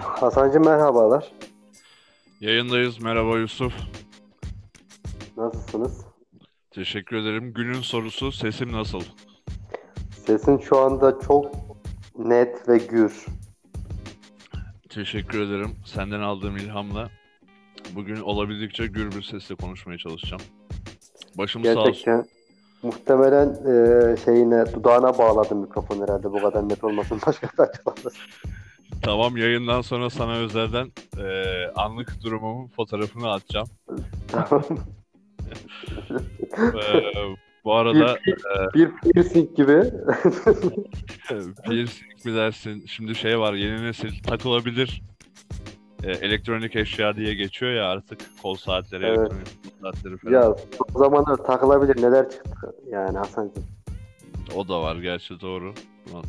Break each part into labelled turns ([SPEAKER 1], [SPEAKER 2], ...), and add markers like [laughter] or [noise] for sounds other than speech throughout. [SPEAKER 1] Hasancı merhabalar.
[SPEAKER 2] Yayındayız. Merhaba Yusuf.
[SPEAKER 1] Nasılsınız?
[SPEAKER 2] Teşekkür ederim. Günün sorusu sesim nasıl?
[SPEAKER 1] Sesin şu anda çok net ve gür.
[SPEAKER 2] Teşekkür ederim. Senden aldığım ilhamla bugün olabildikçe gür bir sesle konuşmaya çalışacağım. Başım sağ olsun.
[SPEAKER 1] Gerçekten muhtemelen e, şeyine dudağına bağladım mikrofon herhalde bu kadar net olmasın [laughs] başka da açıklamaz.
[SPEAKER 2] Tamam yayından sonra sana özelden eee, anlık durumumun fotoğrafını atacağım.
[SPEAKER 1] [laughs] Tamam.
[SPEAKER 2] Eee, E, bu arada
[SPEAKER 1] bir piercing gibi.
[SPEAKER 2] eee, piercing mi e, dersin? Şimdi şey var yeni nesil takılabilir. Eee, elektronik eşya diye geçiyor ya artık kol saatleri,
[SPEAKER 1] Evet.
[SPEAKER 2] elektronik kol saatleri falan.
[SPEAKER 1] ya o zamanlar takılabilir neler çıktı yani Hasancı.
[SPEAKER 2] O da var gerçi doğru. Buna,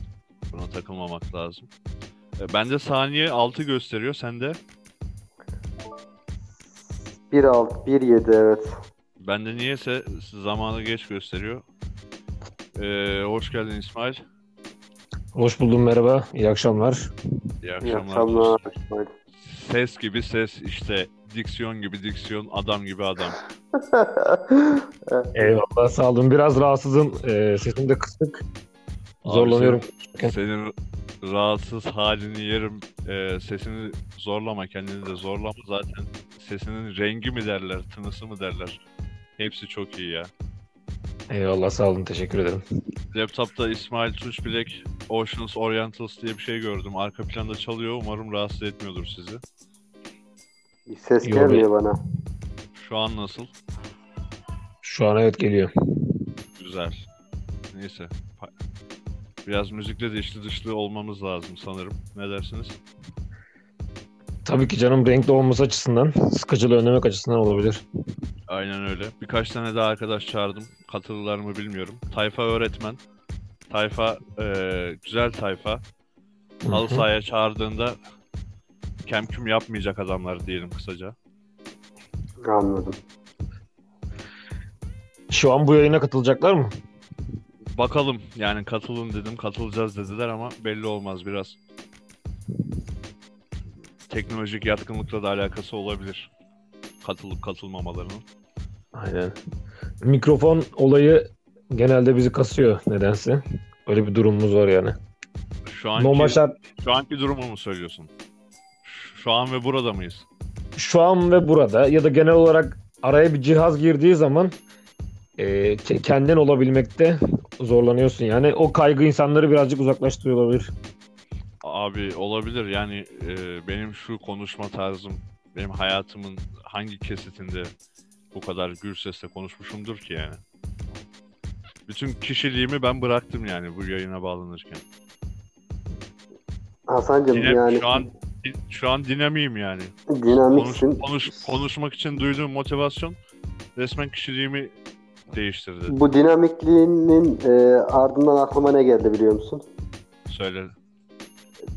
[SPEAKER 2] buna takılmamak lazım. E, Bende saniye 6 gösteriyor. Sende?
[SPEAKER 1] 1.6, 1.7 evet.
[SPEAKER 2] Bende niyeyse zamanı geç gösteriyor. E, hoş geldin İsmail.
[SPEAKER 3] Hoş buldum merhaba. İyi akşamlar.
[SPEAKER 2] İyi
[SPEAKER 1] İyi
[SPEAKER 2] akşamlar. [laughs]
[SPEAKER 1] akşamlar. [laughs]
[SPEAKER 2] Ses gibi ses işte. Diksiyon gibi diksiyon. Adam gibi adam.
[SPEAKER 3] Eyvallah sağ olun. Biraz rahatsızım. Ee, sesim de kısık.
[SPEAKER 2] Abi
[SPEAKER 3] Zorlanıyorum.
[SPEAKER 2] senin- Senin rahatsız halini yerim. E, sesini zorlama. Kendini de zorlama. Zaten sesinin rengi mi derler, tınısı mı derler. Hepsi çok iyi ya.
[SPEAKER 3] Eyvallah sağ olun. Teşekkür ederim.
[SPEAKER 2] Laptopta İsmail Tunç Bilek Oceans Orientals diye bir şey gördüm. Arka planda çalıyor. Umarım rahatsız etmiyordur sizi.
[SPEAKER 1] Ses
[SPEAKER 3] Yo,
[SPEAKER 1] gelmiyor bana.
[SPEAKER 2] Şu an nasıl?
[SPEAKER 3] Şu an evet geliyor.
[SPEAKER 2] Güzel. Neyse. Pa- Biraz müzikle de içli dışlı olmamız lazım sanırım. Ne dersiniz?
[SPEAKER 3] Tabii ki canım renkli olması açısından, sıkıcılığı önlemek açısından olabilir.
[SPEAKER 2] Aynen öyle. Birkaç tane daha arkadaş çağırdım. Katılırlar mı bilmiyorum. Tayfa öğretmen. Tayfa eee, güzel tayfa.
[SPEAKER 3] Hı
[SPEAKER 2] Halı
[SPEAKER 3] hı.
[SPEAKER 2] sahaya çağırdığında kemküm yapmayacak adamlar diyelim kısaca.
[SPEAKER 1] Anladım.
[SPEAKER 3] Şu an bu yayına katılacaklar mı?
[SPEAKER 2] Bakalım yani katılın dedim katılacağız dediler ama belli olmaz biraz. Teknolojik yatkınlıkla da alakası olabilir. Katılıp katılmamalarının.
[SPEAKER 3] Aynen. Mikrofon olayı genelde bizi kasıyor nedense. Öyle bir durumumuz var yani.
[SPEAKER 2] Şu
[SPEAKER 3] Normal
[SPEAKER 2] anki,
[SPEAKER 3] şart-
[SPEAKER 2] şu anki durumu mu söylüyorsun? Ş- Şu an ve burada mıyız?
[SPEAKER 3] şu an ve burada ya da genel olarak araya bir cihaz girdiği zaman e, ke- kendin olabilmekte zorlanıyorsun. Yani o kaygı insanları birazcık uzaklaştırıyor olabilir.
[SPEAKER 2] Abi olabilir yani e, benim şu konuşma tarzım benim hayatımın hangi kesitinde bu kadar gür sesle konuşmuşumdur ki yani. Bütün kişiliğimi ben bıraktım yani bu yayına bağlanırken.
[SPEAKER 1] Hasancım
[SPEAKER 2] Dinem-
[SPEAKER 1] yani
[SPEAKER 2] şu an şu an dinamiğim yani. Konuş,
[SPEAKER 1] dinamiksin.
[SPEAKER 2] konuş, konuşmak için duyduğum motivasyon resmen kişiliğimi değiştirdi.
[SPEAKER 1] Bu dinamikliğinin e, ardından aklıma ne geldi biliyor musun?
[SPEAKER 2] Söyle.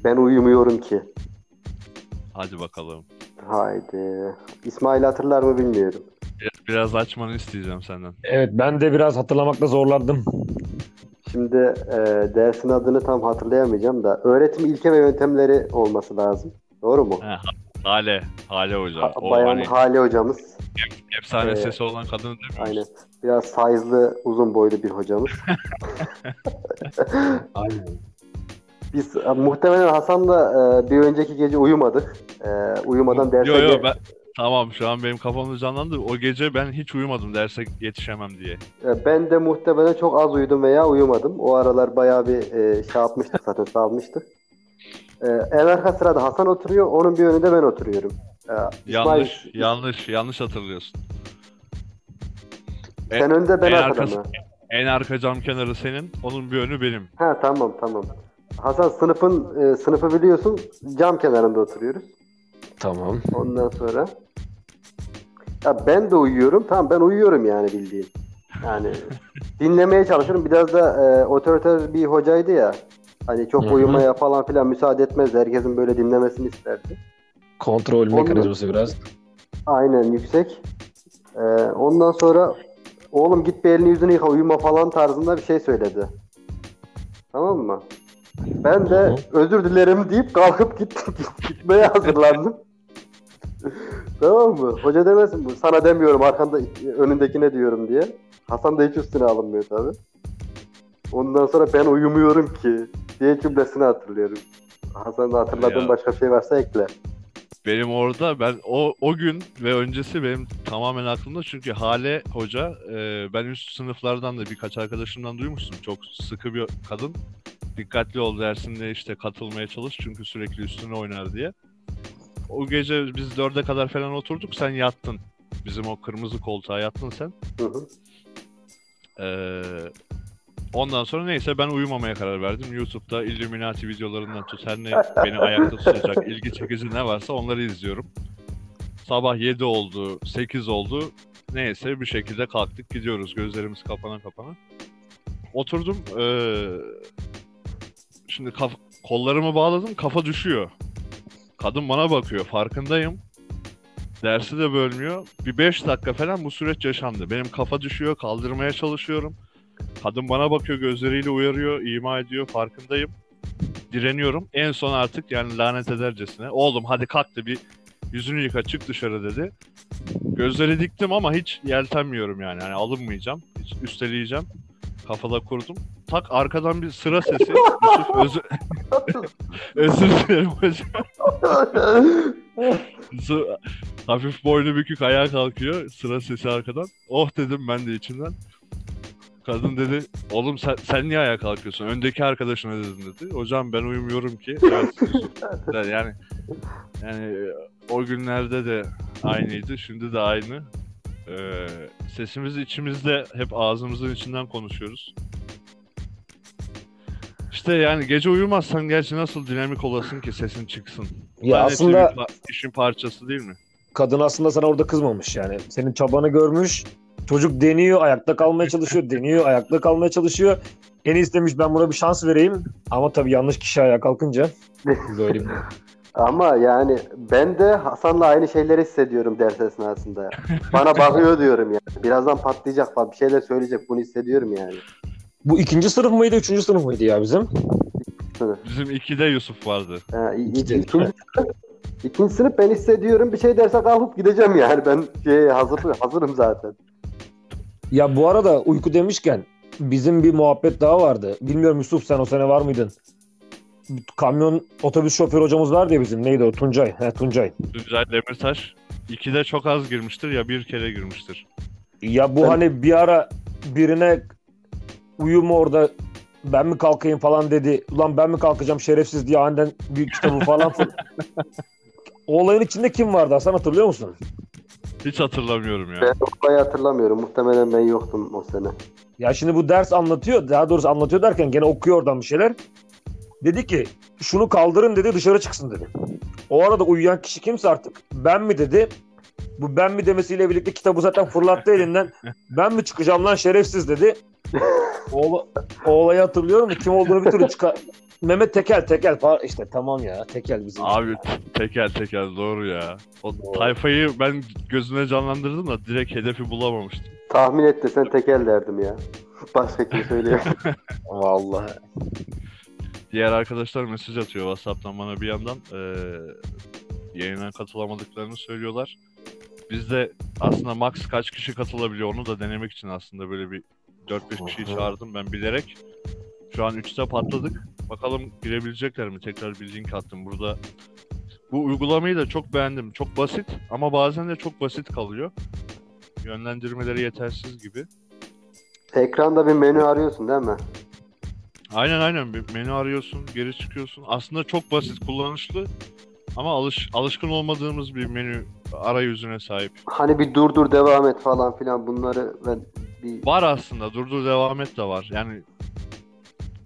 [SPEAKER 1] Ben uyumuyorum ki.
[SPEAKER 2] Hadi bakalım.
[SPEAKER 1] Haydi. İsmail hatırlar mı bilmiyorum.
[SPEAKER 2] Biraz, biraz açmanı isteyeceğim senden.
[SPEAKER 3] Evet ben de biraz hatırlamakta zorlandım.
[SPEAKER 1] Şimdi e, dersin adını tam hatırlayamayacağım da öğretim ilke ve yöntemleri olması lazım. Doğru mu?
[SPEAKER 2] Ha, Hale. Hale Hoca.
[SPEAKER 1] Ha-
[SPEAKER 2] O
[SPEAKER 1] Bayan
[SPEAKER 2] hani
[SPEAKER 1] Hale hocamız.
[SPEAKER 2] efsane
[SPEAKER 1] e,
[SPEAKER 2] sesi olan kadın değil mi?
[SPEAKER 1] Aynen. Biraz size'lı, uzun boylu bir
[SPEAKER 2] [laughs]
[SPEAKER 1] hocamız. [laughs]
[SPEAKER 3] Aynen.
[SPEAKER 1] Biz e, muhtemelen Hasan'la e, bir önceki gece uyumadık. E, uyumadan derse
[SPEAKER 2] Yo yo
[SPEAKER 1] ge-
[SPEAKER 2] ben... Tamam şu an benim kafamda canlandı. O gece ben hiç uyumadım derse yetişemem diye.
[SPEAKER 1] E, Ben de muhtemelen çok az uyudum veya uyumadım. O aralar bayağı bir e, şey yapmıştık zaten salmıştık. E, en arka sırada Hasan oturuyor, onun bir önünde ben oturuyorum. E, İsmail,
[SPEAKER 2] Yanlış, yanlış, yanlış hatırlıyorsun.
[SPEAKER 1] sen önde ben
[SPEAKER 2] en
[SPEAKER 1] arkada
[SPEAKER 2] arkası-
[SPEAKER 1] mı?
[SPEAKER 2] En arka cam kenarı senin, onun bir önü benim.
[SPEAKER 1] Ha tamam tamam. Hasan sınıfın e, sınıfı biliyorsun cam kenarında oturuyoruz.
[SPEAKER 3] Tamam.
[SPEAKER 1] Ondan sonra ya ben de uyuyorum. Tamam ben uyuyorum yani bildiğin.
[SPEAKER 3] [laughs]
[SPEAKER 1] Yani dinlemeye çalışıyorum. Biraz da e, otoriter bir hocaydı ya. Hani çok
[SPEAKER 3] Hı hı.
[SPEAKER 1] uyumaya falan filan müsaade etmezdi. Herkesin böyle dinlemesini isterdi.
[SPEAKER 3] Kontrol
[SPEAKER 1] Onu-
[SPEAKER 3] mekanizması biraz.
[SPEAKER 1] Aynen yüksek. E, ondan sonra oğlum git bir elini yüzünü yıka uyuma falan tarzında bir şey söyledi. Tamam mı? Ben de
[SPEAKER 3] Tamam.
[SPEAKER 1] özür dilerim deyip kalkıp gittim. [laughs] Gitmeye hazırlandım. tamam mı? Hoca demesin bu. Sana demiyorum arkanda önündekine diyorum diye. Hasan da hiç üstüne alınmıyor tabi. Ondan sonra ben uyumuyorum ki diye cümlesini hatırlıyorum. Hasan'ın hatırladığın
[SPEAKER 2] Ya.
[SPEAKER 1] başka şey varsa ekle.
[SPEAKER 2] Benim orada ben o o gün ve öncesi benim tamamen aklımda çünkü Hale Hoca e, ben üst sınıflardan da birkaç arkadaşımdan duymuştum çok sıkı bir kadın dikkatli ol dersinde işte katılmaya çalış çünkü sürekli üstüne oynar diye. O gece biz dörde kadar falan oturduk sen yattın bizim o kırmızı koltuğa yattın sen.
[SPEAKER 1] Hı hı.
[SPEAKER 2] Ee, ondan sonra neyse ben uyumamaya karar verdim. YouTube'da Illuminati videolarından tut her ne beni ayakta tutacak ilgi çekici ne varsa onları izliyorum. Sabah 7 oldu, 8 oldu. Neyse bir şekilde kalktık gidiyoruz gözlerimiz kapana kapana. Oturdum. ee, şimdi kaf- kollarımı bağladım kafa düşüyor. Kadın bana bakıyor farkındayım. Dersi de bölmüyor. Bir 5 dakika falan bu süreç yaşandı. Benim kafa düşüyor, kaldırmaya çalışıyorum. Kadın bana bakıyor, gözleriyle uyarıyor, ima ediyor, farkındayım. Direniyorum. En son artık yani lanet edercesine. Oğlum hadi kalk da bir yüzünü yıka çık dışarı dedi. Gözleri diktim ama hiç yeltenmiyorum yani. Hani alınmayacağım, hiç üsteleyeceğim. Kafada kurdum. Tak arkadan bir sıra sesi. Yusuf özür, [laughs] özür dilerim hocam. Su- hafif boynu bükük ayağa kalkıyor. Sıra sesi arkadan. Oh dedim ben de içimden. Kadın dedi oğlum sen, sen niye ayağa kalkıyorsun? Öndeki arkadaşına dedim dedi. Hocam ben uyumuyorum ki. Evet, Yusuf. yani yani e, o günlerde de aynıydı. Şimdi de aynı. Ee, sesimiz içimizde hep ağzımızın içinden konuşuyoruz. İşte yani gece uyumazsan gerçi nasıl dinamik olasın ki sesin çıksın.
[SPEAKER 3] Ya
[SPEAKER 2] Bence
[SPEAKER 3] aslında
[SPEAKER 2] bir pa- işin parçası değil mi?
[SPEAKER 3] kadın aslında sana orada kızmamış yani. Senin çabanı görmüş. Çocuk deniyor, ayakta kalmaya çalışıyor, deniyor, ayakta kalmaya çalışıyor. En iyisi demiş ben buna bir şans vereyim. Ama tabii yanlış kişi ayağa kalkınca böyle bir...
[SPEAKER 1] Ama yani ben de Hasan'la aynı şeyleri hissediyorum ders esnasında. Bana bakıyor diyorum yani. Birazdan patlayacak falan bir şeyler söyleyecek bunu hissediyorum yani.
[SPEAKER 3] Bu ikinci sınıf mıydı, üçüncü sınıf mıydı ya bizim?
[SPEAKER 2] Bizim 2'de Yusuf vardı.
[SPEAKER 1] Ha, i- i-
[SPEAKER 3] İkinci-
[SPEAKER 1] ikinci, sınıf, ikinci sınıf ben hissediyorum bir şey derse kalkıp gideceğim yani. Ben şey, hazır, hazırım zaten.
[SPEAKER 3] Ya bu arada uyku demişken bizim bir muhabbet daha vardı. Bilmiyorum Yusuf sen o sene var mıydın? Kamyon otobüs şoförü hocamız vardı ya bizim. Neydi o? Tuncay. He, Tuncay.
[SPEAKER 2] Tuncay Demirtaş 2'de çok az girmiştir ya bir kere girmiştir.
[SPEAKER 3] Ya bu
[SPEAKER 1] Ben-
[SPEAKER 3] hani bir ara birine uyuma orada ben mi kalkayım falan dedi. Ulan ben mi kalkacağım şerefsiz diye aniden bir kitabı falan. fır- o olayın içinde kim vardı Hasan hatırlıyor musun?
[SPEAKER 2] Hiç hatırlamıyorum ya.
[SPEAKER 1] Ben olayı hatırlamıyorum. Muhtemelen ben yoktum o sene.
[SPEAKER 3] Ya şimdi bu ders anlatıyor. Daha doğrusu anlatıyor derken gene okuyor oradan bir şeyler. Dedi ki şunu kaldırın dedi dışarı çıksın dedi. O arada uyuyan kişi kimse artık ben mi dedi. Bu ben mi demesiyle birlikte kitabı zaten fırlattı elinden. [laughs] Ben mi çıkacağım lan şerefsiz dedi. O, ola- o olayı hatırlıyorum da kim olduğunu bir türlü çıkar. Mehmet Tekel Tekel par- işte tamam ya Tekel bizim.
[SPEAKER 2] Abi t- teker teker doğru ya. O
[SPEAKER 3] Doğru.
[SPEAKER 2] tayfayı ben gözüne canlandırdım da direkt hedefi bulamamıştım.
[SPEAKER 1] Tahmin et desen tekel derdim ya. [laughs] Başka kim söyleyeyim.
[SPEAKER 3] Vallahi.
[SPEAKER 2] Diğer arkadaşlar mesaj atıyor WhatsApp'tan bana bir yandan. Ee, yayına katılamadıklarını söylüyorlar. Biz de aslında max kaç kişi katılabiliyor onu da denemek için aslında böyle bir 4-5 kişiyi
[SPEAKER 3] Aha.
[SPEAKER 2] çağırdım ben bilerek. Şu an 3'te patladık. Bakalım girebilecekler mi? Tekrar bir link attım burada. Bu uygulamayı da çok beğendim. Çok basit ama bazen de çok basit kalıyor. Yönlendirmeleri yetersiz gibi.
[SPEAKER 1] Ekranda bir menü arıyorsun değil mi?
[SPEAKER 2] Aynen aynen bir menü arıyorsun, geri çıkıyorsun. Aslında çok basit, kullanışlı ama alış alışkın olmadığımız bir menü arayüzüne sahip.
[SPEAKER 1] Hani bir dur dur devam et falan filan bunları ben bir
[SPEAKER 2] Var aslında durdur devam et de var. Yani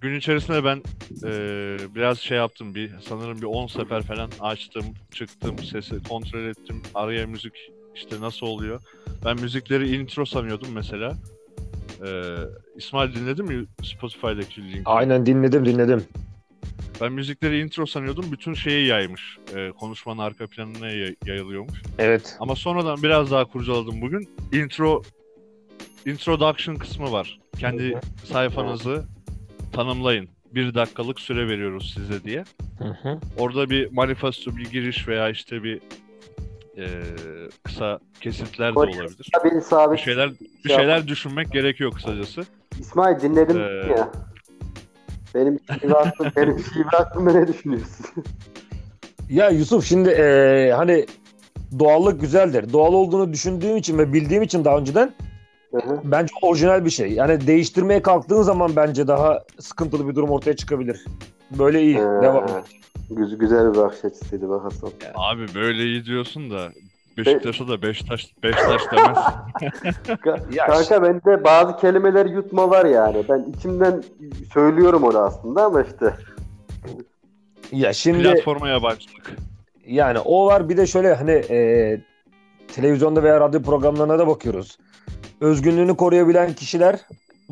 [SPEAKER 2] gün içerisinde ben eee, biraz şey yaptım bir sanırım bir 10 sefer falan açtım, çıktım, sesi kontrol ettim. Araya müzik işte nasıl oluyor? Ben müzikleri intro sanıyordum mesela. Eee, İsmail dinledin mi Spotify'daki linki?
[SPEAKER 3] Aynen dinledim dinledim.
[SPEAKER 2] Ben müzikleri intro sanıyordum. Bütün şeyi yaymış. Ee, konuşmanın arka planına yay- yayılıyormuş.
[SPEAKER 3] Evet.
[SPEAKER 2] Ama sonradan biraz daha kurcaladım bugün. Intro introduction kısmı var. Kendi sayfanızı tanımlayın. bir dakikalık süre veriyoruz size diye. Orada bir manifesto, bir giriş veya işte bir eee, kısa kesitler de
[SPEAKER 1] Konuş-
[SPEAKER 2] olabilir.
[SPEAKER 1] Tabii
[SPEAKER 2] Bir
[SPEAKER 1] sabit.
[SPEAKER 2] şeyler bir
[SPEAKER 1] Şey
[SPEAKER 2] şeyler düşünmek gerekiyor kısacası.
[SPEAKER 1] İsmail dinledim
[SPEAKER 2] Ee,
[SPEAKER 1] ya. Benim şive hakkım,
[SPEAKER 3] [laughs]
[SPEAKER 1] benim şive hakkımda ne düşünüyorsun?
[SPEAKER 3] Ya Yusuf şimdi eee, hani doğallık güzeldir. Doğal olduğunu düşündüğüm için ve bildiğim için daha önceden
[SPEAKER 1] Hı hı.
[SPEAKER 3] bence orijinal bir şey. Yani değiştirmeye kalktığın zaman bence daha sıkıntılı bir durum ortaya çıkabilir. Böyle iyi.
[SPEAKER 1] Ee,
[SPEAKER 3] Devam.
[SPEAKER 1] Güz, güzel bir bakış açısıydı bak Hasan.
[SPEAKER 2] Abi böyle iyi diyorsun da Beşiktaş'a da Beşiktaş Beşiktaş demez.
[SPEAKER 1] Ka-
[SPEAKER 3] Ya
[SPEAKER 1] Kanka bende bazı kelimeler yutma var yani. Ben içimden söylüyorum onu aslında ama işte.
[SPEAKER 3] Ya şimdi
[SPEAKER 2] Platforma yabancılık.
[SPEAKER 3] Yani o var bir de şöyle hani e, televizyonda veya radyo programlarına da bakıyoruz. Özgünlüğünü koruyabilen kişiler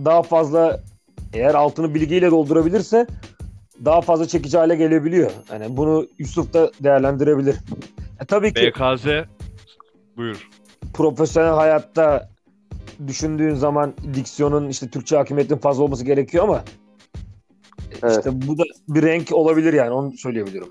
[SPEAKER 3] daha fazla eğer altını bilgiyle doldurabilirse daha fazla çekici hale gelebiliyor. Yani bunu Yusuf da değerlendirebilir. E, tabii ki
[SPEAKER 2] BKZ buyur.
[SPEAKER 3] profesyonel hayatta düşündüğün zaman diksiyonun işte Türkçe hakimiyetin fazla olması gerekiyor ama e,
[SPEAKER 1] Evet.
[SPEAKER 3] işte bu da bir renk olabilir yani onu söyleyebilirim.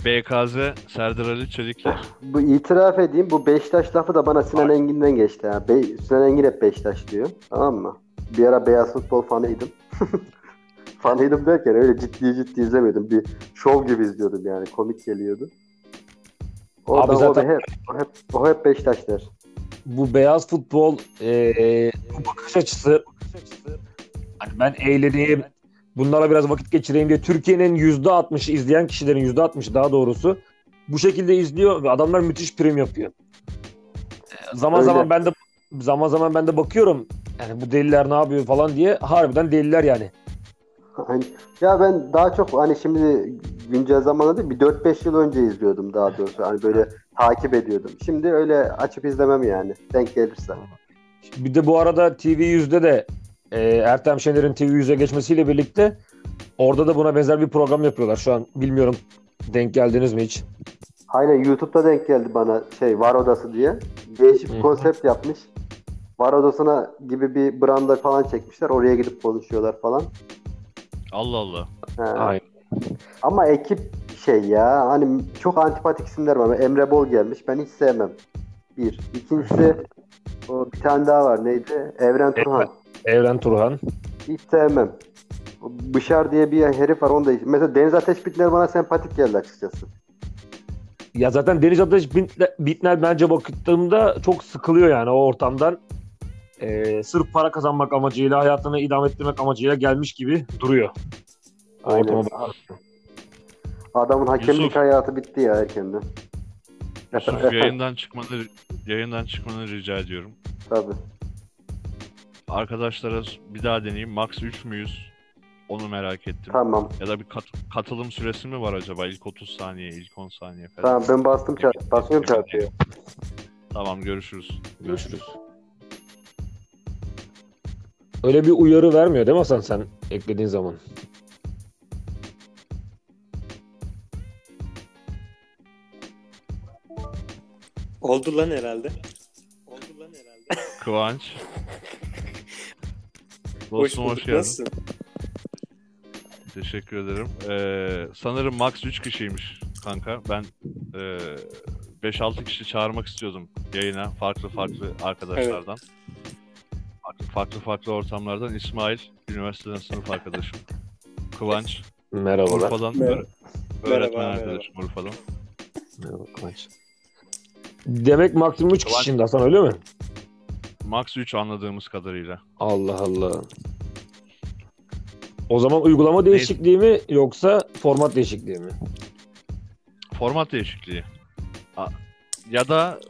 [SPEAKER 2] BKZ Serdar Ali Çelikler.
[SPEAKER 1] Bu itiraf edeyim bu Beşiktaş lafı da bana Sinan Engin'den geçti. Ha. Be- Sinan Engin hep Beşiktaş diyor. Tamam mı? Bir ara beyaz futbol fanıydım. [laughs] fanıydım derken öyle ciddi ciddi izlemiyordum. Bir şov gibi izliyordum yani. Komik geliyordu. Oradan
[SPEAKER 3] Abi zaten-
[SPEAKER 1] o, da hep, o hep, o hep Beşiktaş der.
[SPEAKER 3] bu beyaz futbol e, e, bu bakış açısı hani ben eğleneyim bunlara biraz vakit geçireyim diye Türkiye'nin %60'ı izleyen kişilerin %60'ı daha doğrusu bu şekilde izliyor ve adamlar müthiş prim yapıyor. E, Zaman
[SPEAKER 1] Öyle.
[SPEAKER 3] zaman ben de zaman zaman ben de bakıyorum yani bu deliler ne yapıyor falan diye harbiden deliler yani.
[SPEAKER 1] Hani- ya ben daha çok hani şimdi güncel zamanda değil bir 4-5 yıl önce izliyordum daha doğrusu. Hani böyle takip ediyordum. Şimdi öyle açıp izlemem yani. Denk gelirse.
[SPEAKER 3] Bir de bu arada TV yüzde de e, Ertem Şener'in TV yüze geçmesiyle birlikte orada da buna benzer bir program yapıyorlar şu an. Bilmiyorum denk geldiniz mi hiç?
[SPEAKER 1] Aynen YouTube'da denk geldi bana şey var odası diye. Değişik
[SPEAKER 3] Hı
[SPEAKER 1] bir
[SPEAKER 3] hı.
[SPEAKER 1] konsept yapmış. Var odasına gibi bir branda falan çekmişler. Oraya gidip konuşuyorlar falan.
[SPEAKER 2] Allah Allah.
[SPEAKER 1] He. Ama ekip şey ya hani çok antipatik isimler var. Emre Bol gelmiş. Ben hiç sevmem. Bir. İkincisi o bir tane daha var. Neydi? Evren Turhan.
[SPEAKER 3] Evren Turhan.
[SPEAKER 1] Hiç sevmem. O Bışar diye bir herif var. Onu da hiç- Mesela Deniz Ateş Bitner bana sempatik geldi açıkçası.
[SPEAKER 3] Ya zaten Deniz Ateş Bintler- Bitner bence baktığımda çok sıkılıyor yani o ortamdan. Ee, sırf para kazanmak amacıyla hayatını idame ettirmek amacıyla gelmiş gibi duruyor. O
[SPEAKER 1] Aynen.
[SPEAKER 3] ortama bak-
[SPEAKER 1] Adamın hakemlik
[SPEAKER 2] Yusuf.
[SPEAKER 1] hayatı bitti ya erkenden.
[SPEAKER 2] Yusuf yayından çıkmanı yayından çıkmanı rica ediyorum.
[SPEAKER 1] [laughs] Tabii.
[SPEAKER 2] Arkadaşlara bir daha deneyeyim. Max 3 müyüz? Onu merak ettim.
[SPEAKER 1] Tamam.
[SPEAKER 2] Ya da bir kat- katılım süresi mi var acaba? İlk 30 saniye, ilk 10 saniye falan.
[SPEAKER 1] Tamam ben bastım çarp basıyorum çarpıya.
[SPEAKER 2] Tamam görüşürüz.
[SPEAKER 3] Görüşürüz. Öyle bir uyarı vermiyor değil mi Hasan sen eklediğin zaman?
[SPEAKER 4] Oldu lan herhalde. Oldu lan herhalde.
[SPEAKER 2] Kıvanç.
[SPEAKER 4] Hoş
[SPEAKER 2] Dostum hoş,
[SPEAKER 4] bulduk.
[SPEAKER 2] geldin.
[SPEAKER 4] Nasılsın?
[SPEAKER 2] Teşekkür ederim. Ee, sanırım max 3 kişiymiş kanka. Ben e, 5-6 kişi çağırmak istiyordum yayına farklı farklı arkadaşlardan. Farklı farklı, farklı ortamlardan. İsmail, üniversiteden sınıf
[SPEAKER 4] [laughs]
[SPEAKER 2] arkadaşım. Kıvanç,
[SPEAKER 3] Merhabalar.
[SPEAKER 2] Urfa'dan
[SPEAKER 4] Merhaba.
[SPEAKER 2] öğre- öğretmen
[SPEAKER 4] Merhaba,
[SPEAKER 2] arkadaşım Urfa'dan.
[SPEAKER 3] Merhaba Kıvanç. Demek maksimum 3 kişi şimdi Hasan öyle mi?
[SPEAKER 2] Max 3 anladığımız kadarıyla.
[SPEAKER 3] Allah Allah. O zaman uygulama değişikliği mi yoksa format değişikliği mi?
[SPEAKER 2] Format değişikliği. A- Ya da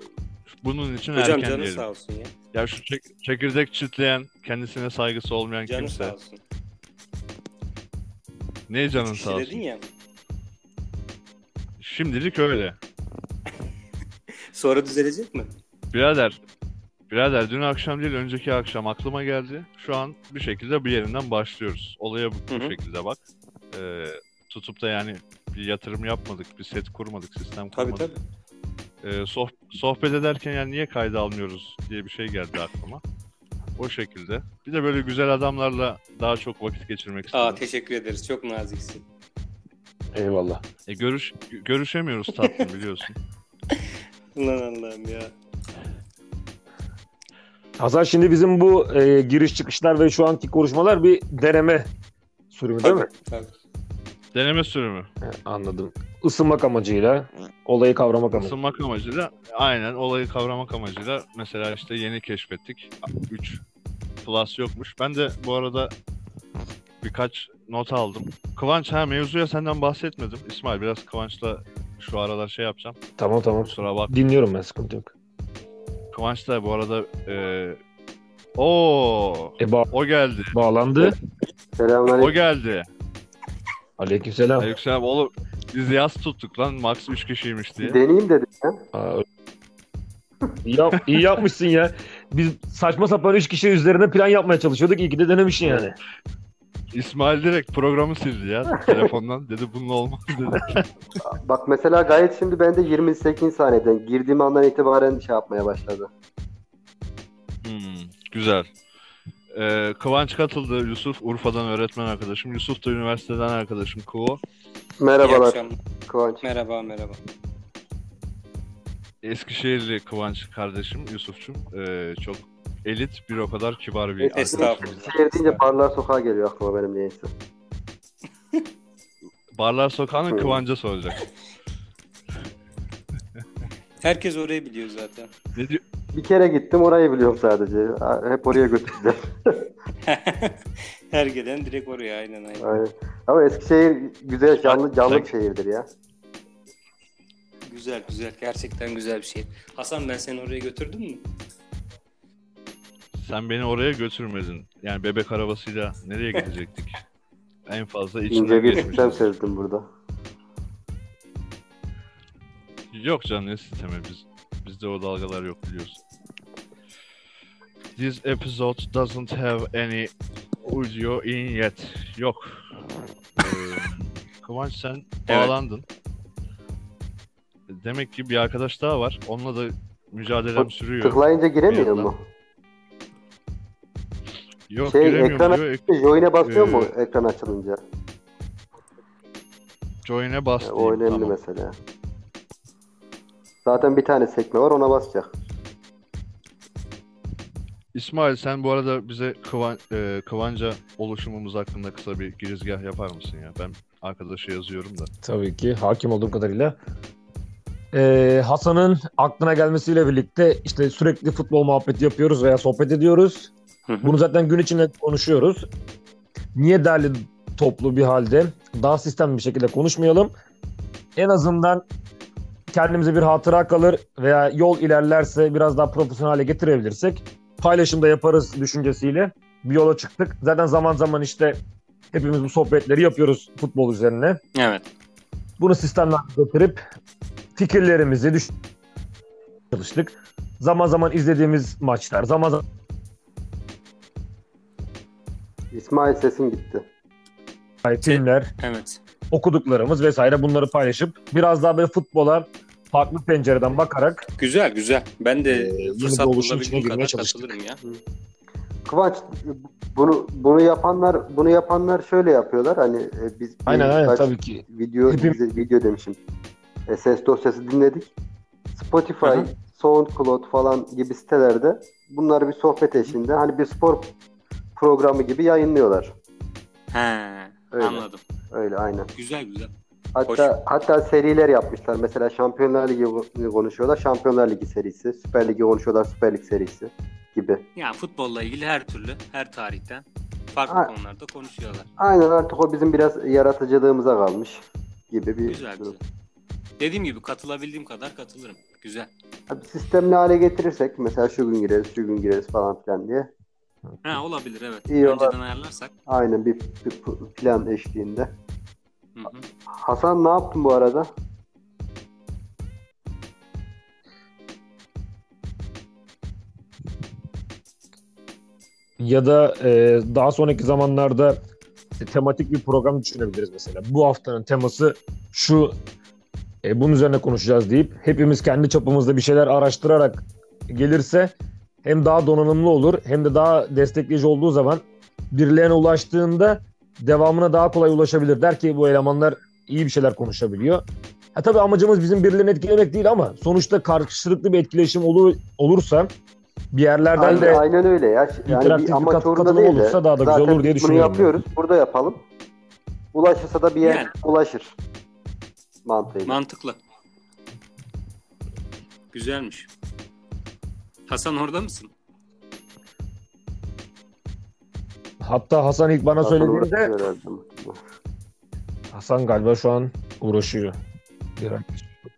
[SPEAKER 2] bunun için
[SPEAKER 4] Hocam
[SPEAKER 2] erken
[SPEAKER 4] canı
[SPEAKER 2] diyelim.
[SPEAKER 4] sağ olsun ya.
[SPEAKER 2] Ya şu çek- çekirdek çitleyen, kendisine saygısı olmayan
[SPEAKER 4] Canı
[SPEAKER 2] kimse.
[SPEAKER 4] sağ olsun.
[SPEAKER 2] Ne canın
[SPEAKER 4] Kişi
[SPEAKER 2] sağ olsun.
[SPEAKER 4] dedin ya.
[SPEAKER 2] Şimdilik öyle.
[SPEAKER 4] Sonra düzelecek mi?
[SPEAKER 2] Birader, birader dün akşam değil önceki akşam aklıma geldi. Şu an bir şekilde bir yerinden başlıyoruz. Olaya bu, bu
[SPEAKER 4] Hı hı.
[SPEAKER 2] şekilde bak. Ee, tutup da yani bir yatırım yapmadık, bir set kurmadık, sistem
[SPEAKER 4] Tabii
[SPEAKER 2] kurmadık.
[SPEAKER 4] tabii.
[SPEAKER 2] Ee, soh- sohbet ederken yani niye kayda almıyoruz diye bir şey geldi aklıma. O şekilde. Bir de böyle güzel adamlarla daha çok vakit geçirmek
[SPEAKER 4] Aa
[SPEAKER 2] istedim.
[SPEAKER 4] teşekkür ederiz. Çok naziksin.
[SPEAKER 3] Eyvallah.
[SPEAKER 2] E, görüş görüşemiyoruz
[SPEAKER 4] [laughs]
[SPEAKER 2] tatlım biliyorsun.
[SPEAKER 4] Lan Allah'ım ya.
[SPEAKER 3] Hasan şimdi bizim bu e, giriş çıkışlar ve şu anki konuşmalar bir deneme sürümü değil mi?
[SPEAKER 4] Tabii.
[SPEAKER 2] Deneme sürümü.
[SPEAKER 3] He, Anladım. Isınmak amacıyla, olayı kavramak amacıyla.
[SPEAKER 2] Isınmak amacıyla aynen olayı kavramak amacıyla mesela işte yeni keşfettik. 3 plus yokmuş. Ben de bu arada birkaç not aldım. Kıvanç ha mevzuya senden bahsetmedim. İsmail biraz Kıvanç'la şu aralar şey yapacağım.
[SPEAKER 3] Tamam tamam.
[SPEAKER 2] Kusura bak.
[SPEAKER 3] Dinliyorum ben sıkıntı yok.
[SPEAKER 2] Kıvanç da bu arada eee o
[SPEAKER 3] E, ba-
[SPEAKER 2] o geldi.
[SPEAKER 3] bağlandı.
[SPEAKER 2] O
[SPEAKER 1] Selamünaleyküm.
[SPEAKER 2] geldi.
[SPEAKER 3] Aleykümselam.
[SPEAKER 2] Yüksel oğlum biz yaz tuttuk lan max 3 kişiymiş diye.
[SPEAKER 1] Deneyeyim dedim ya.
[SPEAKER 3] Aa, ö- iyi, yap- iyi yapmışsın ya. Biz saçma sapan üç kişi üzerine plan yapmaya çalışıyorduk. İyi ki de denemişsin yani.
[SPEAKER 2] İsmail direkt programı sildi ya telefondan. Dedi bununla olmaz dedi.
[SPEAKER 1] Bak mesela gayet şimdi bende 28 saniyeden girdiğim andan itibaren şey yapmaya başladı.
[SPEAKER 2] Hmm, güzel. Ee, Kıvanç katıldı. Yusuf Urfa'dan öğretmen arkadaşım. Yusuf da üniversiteden arkadaşım Kuo.
[SPEAKER 4] İyi
[SPEAKER 1] Merhabalar
[SPEAKER 4] akşamlar.
[SPEAKER 1] Kıvanç.
[SPEAKER 4] Merhaba merhaba.
[SPEAKER 2] Eskişehirli Kıvanç kardeşim Yusuf'cum. Ee, çok elit bir o kadar kibar bir arkadaşım.
[SPEAKER 4] Estağfurullah.
[SPEAKER 1] Şehir deyince barlar sokağa geliyor aklıma benim neyse.
[SPEAKER 2] Barlar Sokağı'nın Kıvanç'a soracak.
[SPEAKER 4] Herkes orayı biliyor zaten. [laughs]
[SPEAKER 2] Ne, di-
[SPEAKER 1] Bir kere gittim orayı biliyorum sadece. Ha, Hep oraya götürdüler.
[SPEAKER 4] Her gelen direkt oraya aynen aynen.
[SPEAKER 1] Aynen. Ama Eskişehir güzel canlı canlı bir şehirdir ya.
[SPEAKER 4] Güzel güzel. Gerçekten güzel bir şey. Hasan ben seni oraya götürdüm mü?
[SPEAKER 2] Sen beni oraya götürmedin. Yani bebek arabasıyla nereye
[SPEAKER 1] [laughs]
[SPEAKER 2] gidecektik? en fazla
[SPEAKER 1] İnce
[SPEAKER 2] içinden
[SPEAKER 1] bir sistem
[SPEAKER 2] geçmişiz.
[SPEAKER 1] sezdim burada.
[SPEAKER 2] Yok canım ne sistemi biz. Bizde o dalgalar yok biliyorsun. This episode doesn't have any audio in yet. Yok.
[SPEAKER 1] [laughs]
[SPEAKER 2] Ee, Kıvanç sen
[SPEAKER 4] Evet.
[SPEAKER 2] bağlandın. Demek ki bir arkadaş daha var. Onunla da mücadelem sürüyor.
[SPEAKER 1] Tıklayınca giremiyor
[SPEAKER 2] yandan.
[SPEAKER 1] mu?
[SPEAKER 2] Yok
[SPEAKER 1] Şey,
[SPEAKER 2] giremiyorum
[SPEAKER 1] ekrana-
[SPEAKER 2] diyor. Ek-
[SPEAKER 1] Join'e basıyor mu
[SPEAKER 2] Ee,
[SPEAKER 1] ekran açılınca?
[SPEAKER 2] Join'e bas
[SPEAKER 1] Ya,
[SPEAKER 2] diyeyim.
[SPEAKER 1] E, o önemli
[SPEAKER 2] Tamam.
[SPEAKER 1] mesela. Zaten bir tane sekme var ona basacak.
[SPEAKER 2] İsmail sen bu arada bize Kıvan, e, Kıvanca oluşumumuz hakkında kısa bir girizgah yapar mısın ya? Ben arkadaşa yazıyorum da.
[SPEAKER 3] Tabii ki hakim olduğum kadarıyla. Ee, Hasan'ın aklına gelmesiyle birlikte işte sürekli futbol muhabbeti yapıyoruz veya sohbet ediyoruz. Bunu zaten gün içinde konuşuyoruz. Niye derli toplu bir halde daha sistemli bir şekilde konuşmayalım? En azından kendimize bir hatıra kalır veya yol ilerlerse biraz daha profesyonel hale getirebilirsek paylaşımda yaparız düşüncesiyle bir yola çıktık. Zaten zaman zaman işte hepimiz bu sohbetleri yapıyoruz futbol üzerine.
[SPEAKER 4] Evet.
[SPEAKER 3] Bunu sistemle götürüp fikirlerimizi düş çalıştık. Zaman zaman izlediğimiz maçlar, zaman zaman
[SPEAKER 1] İsmail sesin gitti.
[SPEAKER 3] filmler,
[SPEAKER 4] Evet.
[SPEAKER 3] okuduklarımız vesaire bunları paylaşıp biraz daha böyle futbola farklı pencereden bakarak e,
[SPEAKER 4] Güzel güzel. Ben de
[SPEAKER 3] Ee, yine
[SPEAKER 4] fırsat
[SPEAKER 3] bu oluşun içine
[SPEAKER 4] bulabildiğim
[SPEAKER 3] girmeye
[SPEAKER 4] kadar
[SPEAKER 3] çalıştık.
[SPEAKER 4] katılırım ya.
[SPEAKER 1] Kıvanç bunu bunu yapanlar bunu yapanlar şöyle yapıyorlar hani e, biz bir
[SPEAKER 3] aynen aynen
[SPEAKER 1] kaç
[SPEAKER 3] tabii ki
[SPEAKER 1] video
[SPEAKER 3] Hepim-
[SPEAKER 1] bize- video demişim. E, ses dosyası dinledik. Spotify,
[SPEAKER 4] Hı hı.
[SPEAKER 1] SoundCloud falan gibi sitelerde bunları bir sohbet eşliğinde hani bir spor programı gibi yayınlıyorlar.
[SPEAKER 4] He,
[SPEAKER 1] Öyle.
[SPEAKER 4] anladım.
[SPEAKER 1] Öyle aynen.
[SPEAKER 4] Güzel güzel.
[SPEAKER 1] Hatta hatta seriler yapmışlar. Mesela Şampiyonlar Ligi'ni konuşuyorlar. Şampiyonlar Ligi serisi, Süper Ligi konuşuyorlar. Süper Lig serisi gibi.
[SPEAKER 4] Yani futbolla ilgili her türlü, her tarihten farklı
[SPEAKER 1] Ha.
[SPEAKER 4] konularda konuşuyorlar.
[SPEAKER 1] Aynen artık o bizim biraz yaratıcılığımıza kalmış gibi bir
[SPEAKER 4] Güzel
[SPEAKER 1] durum.
[SPEAKER 4] güzel. Dediğim gibi katılabildiğim kadar katılırım. Güzel.
[SPEAKER 1] Abi sistemli hale getirirsek mesela şu gün gireriz, şu gün gireriz falan filan diye.
[SPEAKER 4] Ha olabilir evet.
[SPEAKER 1] İyi
[SPEAKER 4] Önceden
[SPEAKER 1] olabilir.
[SPEAKER 4] ayarlarsak.
[SPEAKER 1] Aynen bir, bir p- plan eşliğinde.
[SPEAKER 4] Hı hı.
[SPEAKER 1] Hasan ne yaptın bu arada?
[SPEAKER 3] ya da e, daha sonraki zamanlarda işte tematik bir program düşünebiliriz mesela. Bu haftanın teması şu e, bunun üzerine konuşacağız deyip hepimiz kendi çapımızda bir şeyler araştırarak gelirse hem daha donanımlı olur hem de daha destekleyici olduğu zaman birilerine ulaştığında devamına daha kolay ulaşabilir. Der ki bu elemanlar iyi bir şeyler konuşabiliyor. Ha tabii amacımız bizim birilerini etkilemek değil ama sonuçta karşılıklı bir etkileşim olur, olursa bir yerlerden
[SPEAKER 1] Aynen,
[SPEAKER 3] de
[SPEAKER 1] aynen öyle ya. Ş- Yani
[SPEAKER 3] interaktif
[SPEAKER 1] bir
[SPEAKER 3] bir
[SPEAKER 1] amaç
[SPEAKER 3] kat-
[SPEAKER 1] orada
[SPEAKER 3] katılım
[SPEAKER 1] değil de.
[SPEAKER 3] olursa daha da güzel
[SPEAKER 1] Zaten
[SPEAKER 3] olur diye
[SPEAKER 1] biz bunu
[SPEAKER 3] düşünüyorum ben.
[SPEAKER 1] yapıyoruz. Burada yapalım. Ulaşırsa da bir yer
[SPEAKER 4] Yani.
[SPEAKER 1] ulaşır. Mantığıyla.
[SPEAKER 4] Mantıklı. Güzelmiş. Hasan orada mısın?
[SPEAKER 3] hatta Hasan ilk bana
[SPEAKER 1] Zaten
[SPEAKER 3] söylediğinde
[SPEAKER 1] uğraşıyor herhalde.
[SPEAKER 3] Hasan galiba şu an uğraşıyor.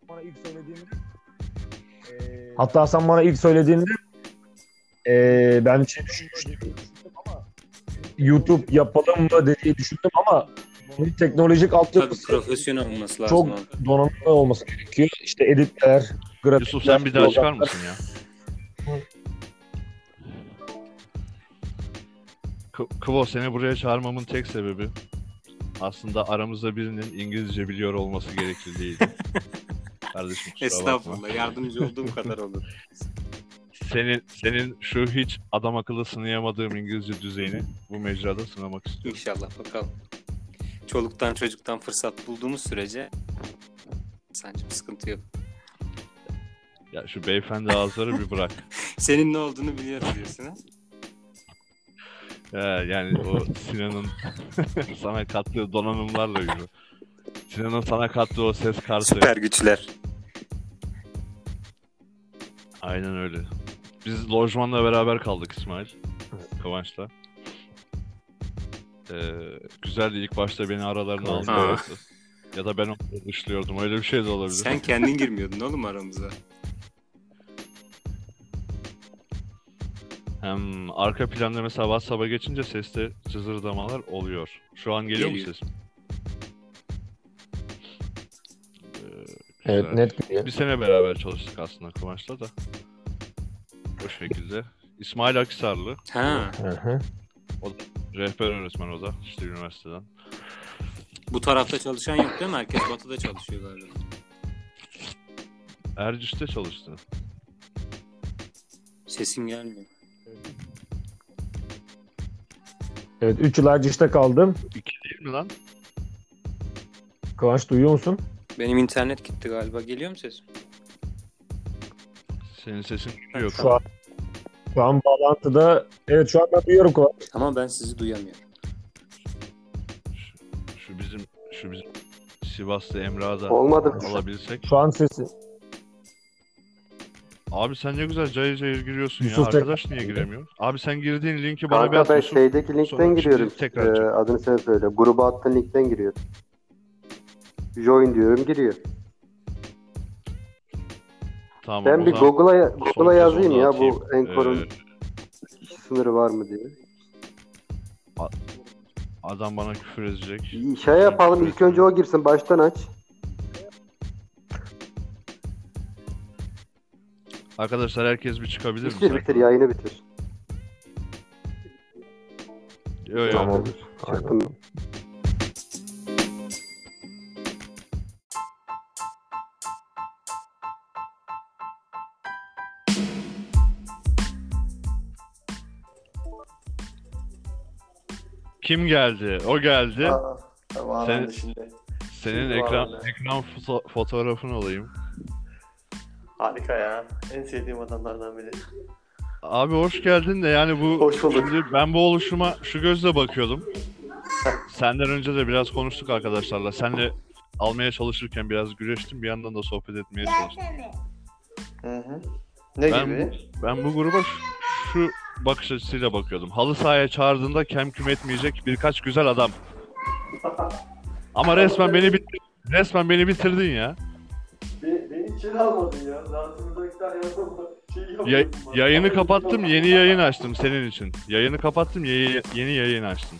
[SPEAKER 3] Bana ilk söylediğinde Hatta Hasan bana ilk söylediğinde eee, ben bir şey düşünmüştüm. YouTube yapalım mı dediği düşündüm ama bunun teknolojik
[SPEAKER 4] Tabii
[SPEAKER 3] altyapısı
[SPEAKER 4] profesyonel olması lazım.
[SPEAKER 3] çok
[SPEAKER 4] abi.
[SPEAKER 3] donanımlı olması gerekiyor. İşte editler, grafikler.
[SPEAKER 2] Yusuf sen bir daha çıkar mısın ya? K- Kvo seni buraya çağırmamın tek sebebi aslında aramızda birinin İngilizce biliyor olması gerekli
[SPEAKER 4] [laughs]
[SPEAKER 2] değil. Kardeşim kusura bakma.
[SPEAKER 4] Estağfurullah. Yardımcı olduğum kadar olur. [laughs]
[SPEAKER 2] Senin, senin şu hiç adam akıllı sınayamadığım İngilizce düzeyini bu mecrada sınamak istiyorum.
[SPEAKER 4] İnşallah bakalım. Çoluktan çocuktan fırsat bulduğumuz sürece sancım sıkıntı yok.
[SPEAKER 2] Ya şu beyefendi ağızları bir
[SPEAKER 4] [laughs]
[SPEAKER 2] bırak.
[SPEAKER 4] Senin ne olduğunu biliyorum diyorsun ha?
[SPEAKER 2] Ee, yani o Sinan'ın [laughs] sana kattığı donanımlarla yürü. Sinan'ın sana kattığı o ses kartı.
[SPEAKER 4] Süper güçler.
[SPEAKER 2] Aynen öyle. Biz lojmanla beraber kaldık İsmail. Kıvanç'la. Ee, güzeldi ilk başta beni aralarına aldı.
[SPEAKER 4] Aa.
[SPEAKER 2] orası. Ya da ben onu dışlıyordum. Öyle bir şey de olabilir.
[SPEAKER 4] Sen kendin girmiyordun oğlum aramıza.
[SPEAKER 2] Hem arka planda mesela WhatsApp'a geçince seste cızırdamalar oluyor. Şu an geliyor mu
[SPEAKER 4] Geliyor.
[SPEAKER 2] sesim? Ee,
[SPEAKER 3] Evet
[SPEAKER 2] güzel.
[SPEAKER 3] net geliyor.
[SPEAKER 2] Bir sene beraber çalıştık aslında Kıvanç'la da. O şekilde. İsmail Akisarlı.
[SPEAKER 4] Ha,
[SPEAKER 3] Hı hı.
[SPEAKER 2] Rehber öğretmen o da. işte üniversiteden.
[SPEAKER 4] bu tarafta çalışan yok değil mi? Herkes batıda çalışıyor galiba.
[SPEAKER 2] Erciş'te çalıştı.
[SPEAKER 4] Sesim gelmiyor.
[SPEAKER 3] Evet 3 yıl Erciş'te kaldım.
[SPEAKER 2] İki değil mi lan?
[SPEAKER 3] Kıvanç duyuyor musun?
[SPEAKER 4] Benim internet gitti galiba. Geliyor mu sesim?
[SPEAKER 2] Senin sesin geliyor.
[SPEAKER 3] Şu an şu an bağlantıda evet şu an ben duyuyorum Kıvanç.
[SPEAKER 4] Ama ben sizi duyamıyorum.
[SPEAKER 2] Şu, şu bizim şu bizim Sivas'ta Emrah'da
[SPEAKER 1] Olmadı.
[SPEAKER 2] alabilsek.
[SPEAKER 3] Şu an sesi
[SPEAKER 2] Abi sen ne güzel cayır cayır giriyorsun ya.
[SPEAKER 3] Yusuf tek-
[SPEAKER 2] Arkadaş niye giremiyor? Abi sen girdiğin linki bana bir
[SPEAKER 1] Kanka ben şey-
[SPEAKER 2] atmışsın.
[SPEAKER 1] şeydeki
[SPEAKER 2] Sonra
[SPEAKER 1] linkten
[SPEAKER 2] şimdi
[SPEAKER 1] giriyorum.
[SPEAKER 2] tekrar
[SPEAKER 1] Ee,
[SPEAKER 2] açalım.
[SPEAKER 1] adını sen söyle. Gruba attığın linkten giriyorum. Join diyorum giriyor.
[SPEAKER 2] Tamam, o
[SPEAKER 1] ben bir
[SPEAKER 2] zaman
[SPEAKER 1] Google'a
[SPEAKER 2] son
[SPEAKER 1] Google'a
[SPEAKER 2] kez
[SPEAKER 1] yazayım
[SPEAKER 2] onu
[SPEAKER 1] ya
[SPEAKER 2] atayım.
[SPEAKER 1] bu Encore'un
[SPEAKER 2] Ee,
[SPEAKER 1] sınırı var mı diye.
[SPEAKER 2] adam bana küfür edecek.
[SPEAKER 1] Şey yapalım ilk önce o girsin baştan aç.
[SPEAKER 2] Arkadaşlar herkes bir çıkabilir mi?
[SPEAKER 1] Bitir bitir yayını bitir.
[SPEAKER 2] Yo, yo.
[SPEAKER 3] Tamam.
[SPEAKER 1] Çıktım.
[SPEAKER 2] Kim geldi? O geldi.
[SPEAKER 5] Aa, Tamam
[SPEAKER 2] Sen-
[SPEAKER 5] anladım şimdi.
[SPEAKER 2] Senin
[SPEAKER 5] Kim
[SPEAKER 2] ekran
[SPEAKER 5] vardı?
[SPEAKER 2] ekran foto- fotoğrafın olayım.
[SPEAKER 5] Harika ya. En sevdiğim adamlardan biri.
[SPEAKER 2] Abi hoş geldin de yani bu
[SPEAKER 5] Hoş bulduk.
[SPEAKER 2] şimdi ben bu oluşuma şu gözle bakıyordum. Senden önce de biraz konuştuk arkadaşlarla. Senle almaya çalışırken biraz güreştim. Bir yandan da sohbet etmeye çalıştım.
[SPEAKER 5] Hı hı. Ne
[SPEAKER 2] Ben-
[SPEAKER 5] gibi?
[SPEAKER 2] Ben bu gruba şu, şu bakış açısıyla bakıyordum. Halı sahaya çağırdığında kem küm etmeyecek birkaç güzel adam. Ama resmen beni bitir resmen beni bitirdin ya.
[SPEAKER 5] Be- beni içeri almadın ya. Rahatsızlıktan yazdım. Şey
[SPEAKER 2] Ya-
[SPEAKER 5] yapmadın bana.
[SPEAKER 2] yayını kapattım, yeni yayın açtım senin için. Yayını kapattım, ye- yeni yayın açtım.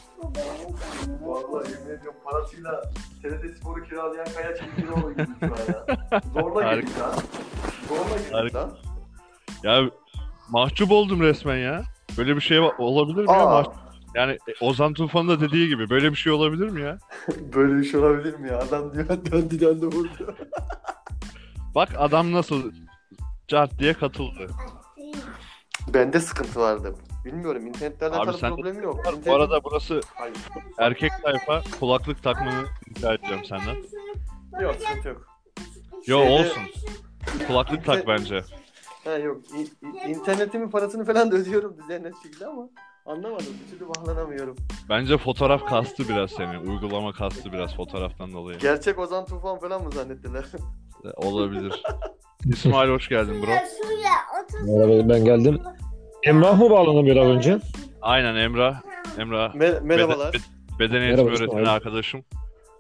[SPEAKER 5] Vallahi yemin ediyorum parasıyla TRT Spor'u kiralayan Kaya Çekilioğlu gibi şu an ya. Zorla girdik lan. Zorla girdik
[SPEAKER 2] Harika.
[SPEAKER 5] lan.
[SPEAKER 2] Ya mahcup oldum resmen ya. Böyle bir şey va- olabilir mi ya?
[SPEAKER 5] Aa,
[SPEAKER 2] Mahcup- Yani e, Ozan Tufan'ın da dediği gibi böyle bir şey olabilir mi ya?
[SPEAKER 5] [laughs] böyle bir şey olabilir mi ya? Adam diyor [laughs] döndü döndü vurdu.
[SPEAKER 2] Bak adam nasıl cart diye katıldı.
[SPEAKER 5] Bende sıkıntı vardı. Bilmiyorum internetlerle
[SPEAKER 2] Abi
[SPEAKER 5] alakalı
[SPEAKER 2] sen de
[SPEAKER 5] problem yok. İnternet-
[SPEAKER 2] Bu arada burası
[SPEAKER 5] Hayır.
[SPEAKER 2] erkek tayfa kulaklık takmanı rica edeceğim senden.
[SPEAKER 5] Yok sıkıntı yok.
[SPEAKER 2] Yo
[SPEAKER 5] Şeyde- Şey-
[SPEAKER 2] olsun. Kulaklık tak bence.
[SPEAKER 5] Ha yok. İ- i- internetimin parasını falan da ödüyorum düzenli şekilde ama anlamadım. Bir türlü bağlanamıyorum.
[SPEAKER 2] Bence fotoğraf kastı biraz seni. Uygulama kastı biraz fotoğraftan dolayı. E,
[SPEAKER 5] Gerçek Ozan Tufan falan mı zannettiler? [laughs]
[SPEAKER 3] [laughs]
[SPEAKER 2] Olabilir. İsmail hoş geldin bro.
[SPEAKER 3] Merhaba, ben geldim. Emrah mı bağlanamıyor az önce?
[SPEAKER 2] Aynen Emrah. Emrah.
[SPEAKER 5] Me- merhabalar.
[SPEAKER 2] Beden, bed- beden eğitimi
[SPEAKER 3] Merhaba
[SPEAKER 2] öğretmeni
[SPEAKER 3] İsmail.
[SPEAKER 2] arkadaşım.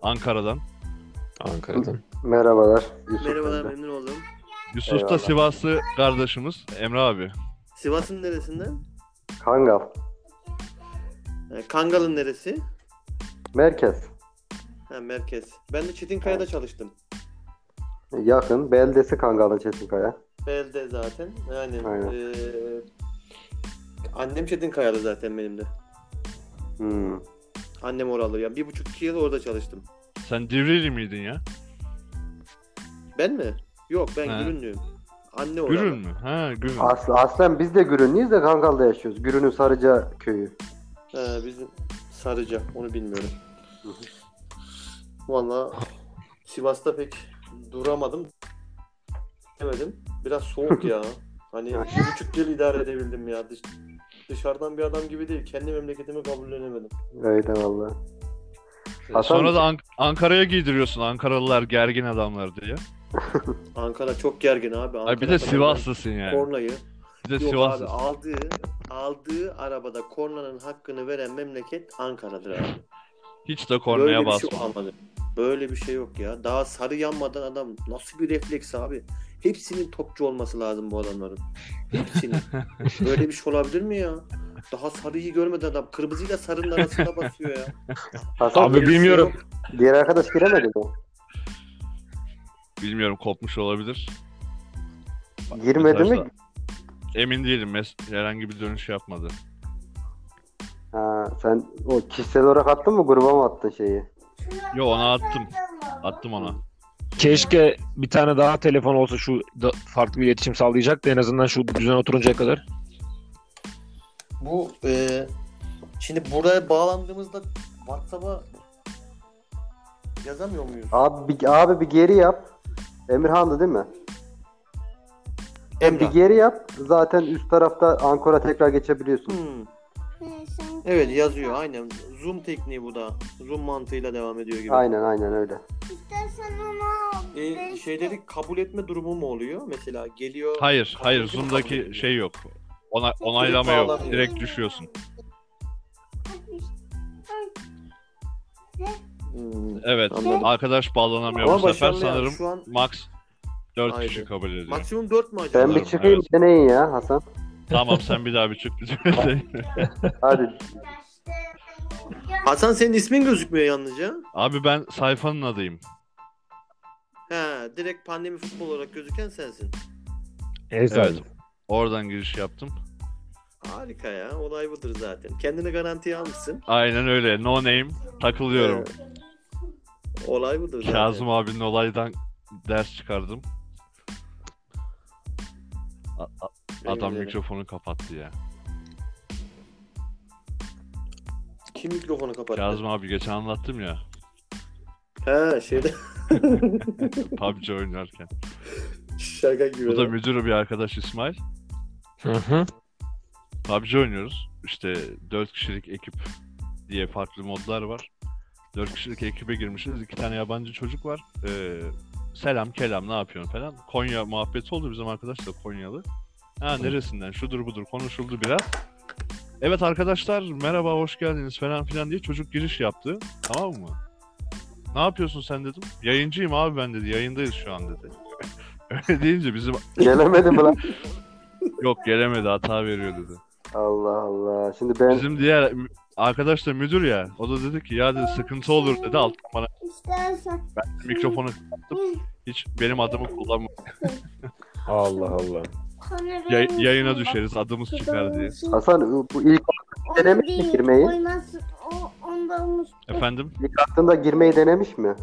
[SPEAKER 2] Ankara'dan.
[SPEAKER 4] Ankara'dan.
[SPEAKER 1] Merhabalar. Yusuf
[SPEAKER 5] Merhabalar
[SPEAKER 1] ben de.
[SPEAKER 5] memnun oldum.
[SPEAKER 2] Yusuf da
[SPEAKER 1] Eyvallah.
[SPEAKER 2] Sivaslı kardeşimiz. Emrah abi.
[SPEAKER 5] Sivas'ın neresinden?
[SPEAKER 1] Kangal.
[SPEAKER 5] Ha, Kangal'ın neresi?
[SPEAKER 1] Merkez.
[SPEAKER 5] Ha, merkez. Ben de Çetinkaya'da çalıştım.
[SPEAKER 1] Yakın. Beldesi Kangal'ın Çetinkaya.
[SPEAKER 5] Belde zaten. Aynen.
[SPEAKER 1] Aynen.
[SPEAKER 5] Ee, annem Çetinkaya'da zaten benim de.
[SPEAKER 1] Hmm.
[SPEAKER 5] Annem oralı. Ya bir buçuk iki yıl orada çalıştım.
[SPEAKER 2] Sen Divriğli miydin ya?
[SPEAKER 5] Ben mi? Yok ben
[SPEAKER 2] Ha.
[SPEAKER 5] Gürünlüyüm. Anne oralı.
[SPEAKER 2] Gürün mü? Ha Gürün.
[SPEAKER 1] Asl- aslen biz de Gürünlüyüz de Kangal'da yaşıyoruz. Gürün'ün Sarıca köyü.
[SPEAKER 5] Ha, bizim Sarıca. Ee, Onu bilmiyorum. Valla Sivas'ta pek duramadım. Demedim. Biraz soğuk ya. Hani bir buçuk yıl idare edebildim ya. Dış- dışarıdan bir adam gibi değil. Kendi memleketimi kabullenemedim.
[SPEAKER 1] Öyle valla. Hasan-
[SPEAKER 2] Ee, Sonra da Ank- Ankara'ya giydiriyorsun Ankaralılar gergin adamlar diye.
[SPEAKER 5] Ankara çok gergin abi. Ankara
[SPEAKER 2] Ay bir de Sivaslısın yani.
[SPEAKER 5] Kornayı.
[SPEAKER 2] Bir de
[SPEAKER 5] Yok abi
[SPEAKER 2] Sivaslısın.
[SPEAKER 5] aldığı, aldığı arabada kornanın hakkını veren memleket Ankara'dır abi.
[SPEAKER 2] Hiç de
[SPEAKER 5] Böyle
[SPEAKER 2] kornaya
[SPEAKER 5] bir şey
[SPEAKER 2] basma.
[SPEAKER 5] olmadı. Böyle bir şey yok ya. Daha sarı yanmadan adam nasıl bir refleks abi? Hepsinin topçu olması lazım bu adamların. Hepsinin. Böyle bir şey olabilir mi ya? Daha sarıyı görmeden adam kırmızıyla sarının arasında basıyor ya.
[SPEAKER 1] Hasan
[SPEAKER 3] Abi
[SPEAKER 5] Böyle bir şey
[SPEAKER 3] bilmiyorum.
[SPEAKER 5] yok.
[SPEAKER 1] diğer arkadaş giremedi mi?
[SPEAKER 2] Bilmiyorum kopmuş olabilir. Bak,
[SPEAKER 1] Girmedi mi?
[SPEAKER 2] mesajda- Emin değilim. Mes- herhangi bir dönüş yapmadı.
[SPEAKER 1] Ha, sen o kişisel olarak attın mı gruba mı attın şeyi?
[SPEAKER 2] Yo ona attım. Attım ona.
[SPEAKER 3] Keşke bir tane daha telefon olsa şu da farklı bir iletişim sağlayacak da en azından şu düzen oturuncaya kadar.
[SPEAKER 5] Bu e, şimdi buraya bağlandığımızda WhatsApp'a yazamıyor muyuz?
[SPEAKER 1] Abi bir, abi bir geri yap. Emirhan'dı değil mi? Bir
[SPEAKER 5] Emrah.
[SPEAKER 1] geri yap. Zaten üst tarafta Ankara tekrar geçebiliyorsun.
[SPEAKER 5] Hmm. Evet yazıyor aynen. Zoom tekniği bu da. Zoom mantığıyla devam ediyor gibi.
[SPEAKER 1] Aynen aynen öyle.
[SPEAKER 5] E, şeyleri kabul etme durumu mu oluyor? Mesela geliyor.
[SPEAKER 2] Hayır, hayır.
[SPEAKER 5] kabul
[SPEAKER 2] Zoom'daki
[SPEAKER 5] etmiyor.
[SPEAKER 2] şey yok. Ona, onaylama yok.
[SPEAKER 5] bağlamıyor.
[SPEAKER 2] Direkt
[SPEAKER 5] [laughs]
[SPEAKER 2] düşüyorsun.
[SPEAKER 5] Hmm.
[SPEAKER 2] Evet.
[SPEAKER 5] Anladım.
[SPEAKER 2] Arkadaş bağlanamıyor
[SPEAKER 5] Ama
[SPEAKER 2] bu sefer
[SPEAKER 5] başarılı yani.
[SPEAKER 2] sanırım.
[SPEAKER 5] Şu an
[SPEAKER 2] Max 4
[SPEAKER 5] Haydi.
[SPEAKER 2] kişi kabul ediyor.
[SPEAKER 5] maksimum 4 mü acaba?
[SPEAKER 1] Ben bir şey- çıkayım
[SPEAKER 2] Sanırım, evet.
[SPEAKER 1] deneyin ya Hasan.
[SPEAKER 2] Tamam sen bir daha bir çık. [laughs]
[SPEAKER 5] [laughs]
[SPEAKER 1] Hadi.
[SPEAKER 5] Hasan senin ismin gözükmüyor yalnızca.
[SPEAKER 2] Abi ben sayfanın adıyım.
[SPEAKER 5] He, direkt pandemi futbol olarak gözüken sensin.
[SPEAKER 2] Evet. Oradan giriş yaptım.
[SPEAKER 5] Harika ya. Olay budur zaten. Kendini garantiye almışsın.
[SPEAKER 2] Aynen öyle. No name. Takılıyorum.
[SPEAKER 5] Olay budur zaten.
[SPEAKER 2] Kazım abinin olaydan ders çıkardım. A- a-
[SPEAKER 5] En
[SPEAKER 2] adam
[SPEAKER 5] güzeli.
[SPEAKER 2] mikrofonu kapattı ya.
[SPEAKER 5] Kim mikrofonu kapattı?
[SPEAKER 2] Kazım abi geçen anlattım ya.
[SPEAKER 5] He şeyde. [laughs]
[SPEAKER 2] PUBG oynarken.
[SPEAKER 5] Şaka gibi.
[SPEAKER 2] Bu da
[SPEAKER 5] lan.
[SPEAKER 2] müdürü bir arkadaş İsmail.
[SPEAKER 3] Hı hı.
[SPEAKER 2] PUBG oynuyoruz. İşte 4 kişilik ekip diye farklı modlar var. 4 kişilik ekibe girmişiz. 2 tane yabancı çocuk var. Ee, selam kelam ne yapıyorsun falan. Konya muhabbeti oldu bizim arkadaş da Konyalı. Ha neresinden şudur budur konuşuldu biraz. Evet arkadaşlar merhaba hoş geldiniz falan filan diye çocuk giriş yaptı. Tamam mı? Ne yapıyorsun sen dedim. Yayıncıyım abi ben dedi. Yayındayız şu an dedi. [laughs] Öyle deyince bizim
[SPEAKER 1] Gelemedi mi lan?
[SPEAKER 2] yok gelemedi hata veriyor dedi.
[SPEAKER 1] Allah Allah. Şimdi ben
[SPEAKER 2] Bizim diğer mü- arkadaş da müdür ya. O da dedi ki ya dedi sıkıntı olur dedi. Alttan bana
[SPEAKER 6] İstersen.
[SPEAKER 2] mikrofonu hiç benim adımı kullanma.
[SPEAKER 3] Allah Allah.
[SPEAKER 2] Yay- yayına düşeriz adımız çıkar diye.
[SPEAKER 1] Hasan bu ilk Denemiş mi girmeyi?
[SPEAKER 6] Oymaz, o, onda olmuş.
[SPEAKER 2] Efendim
[SPEAKER 1] ilk aklında girmeyi denemiş mi?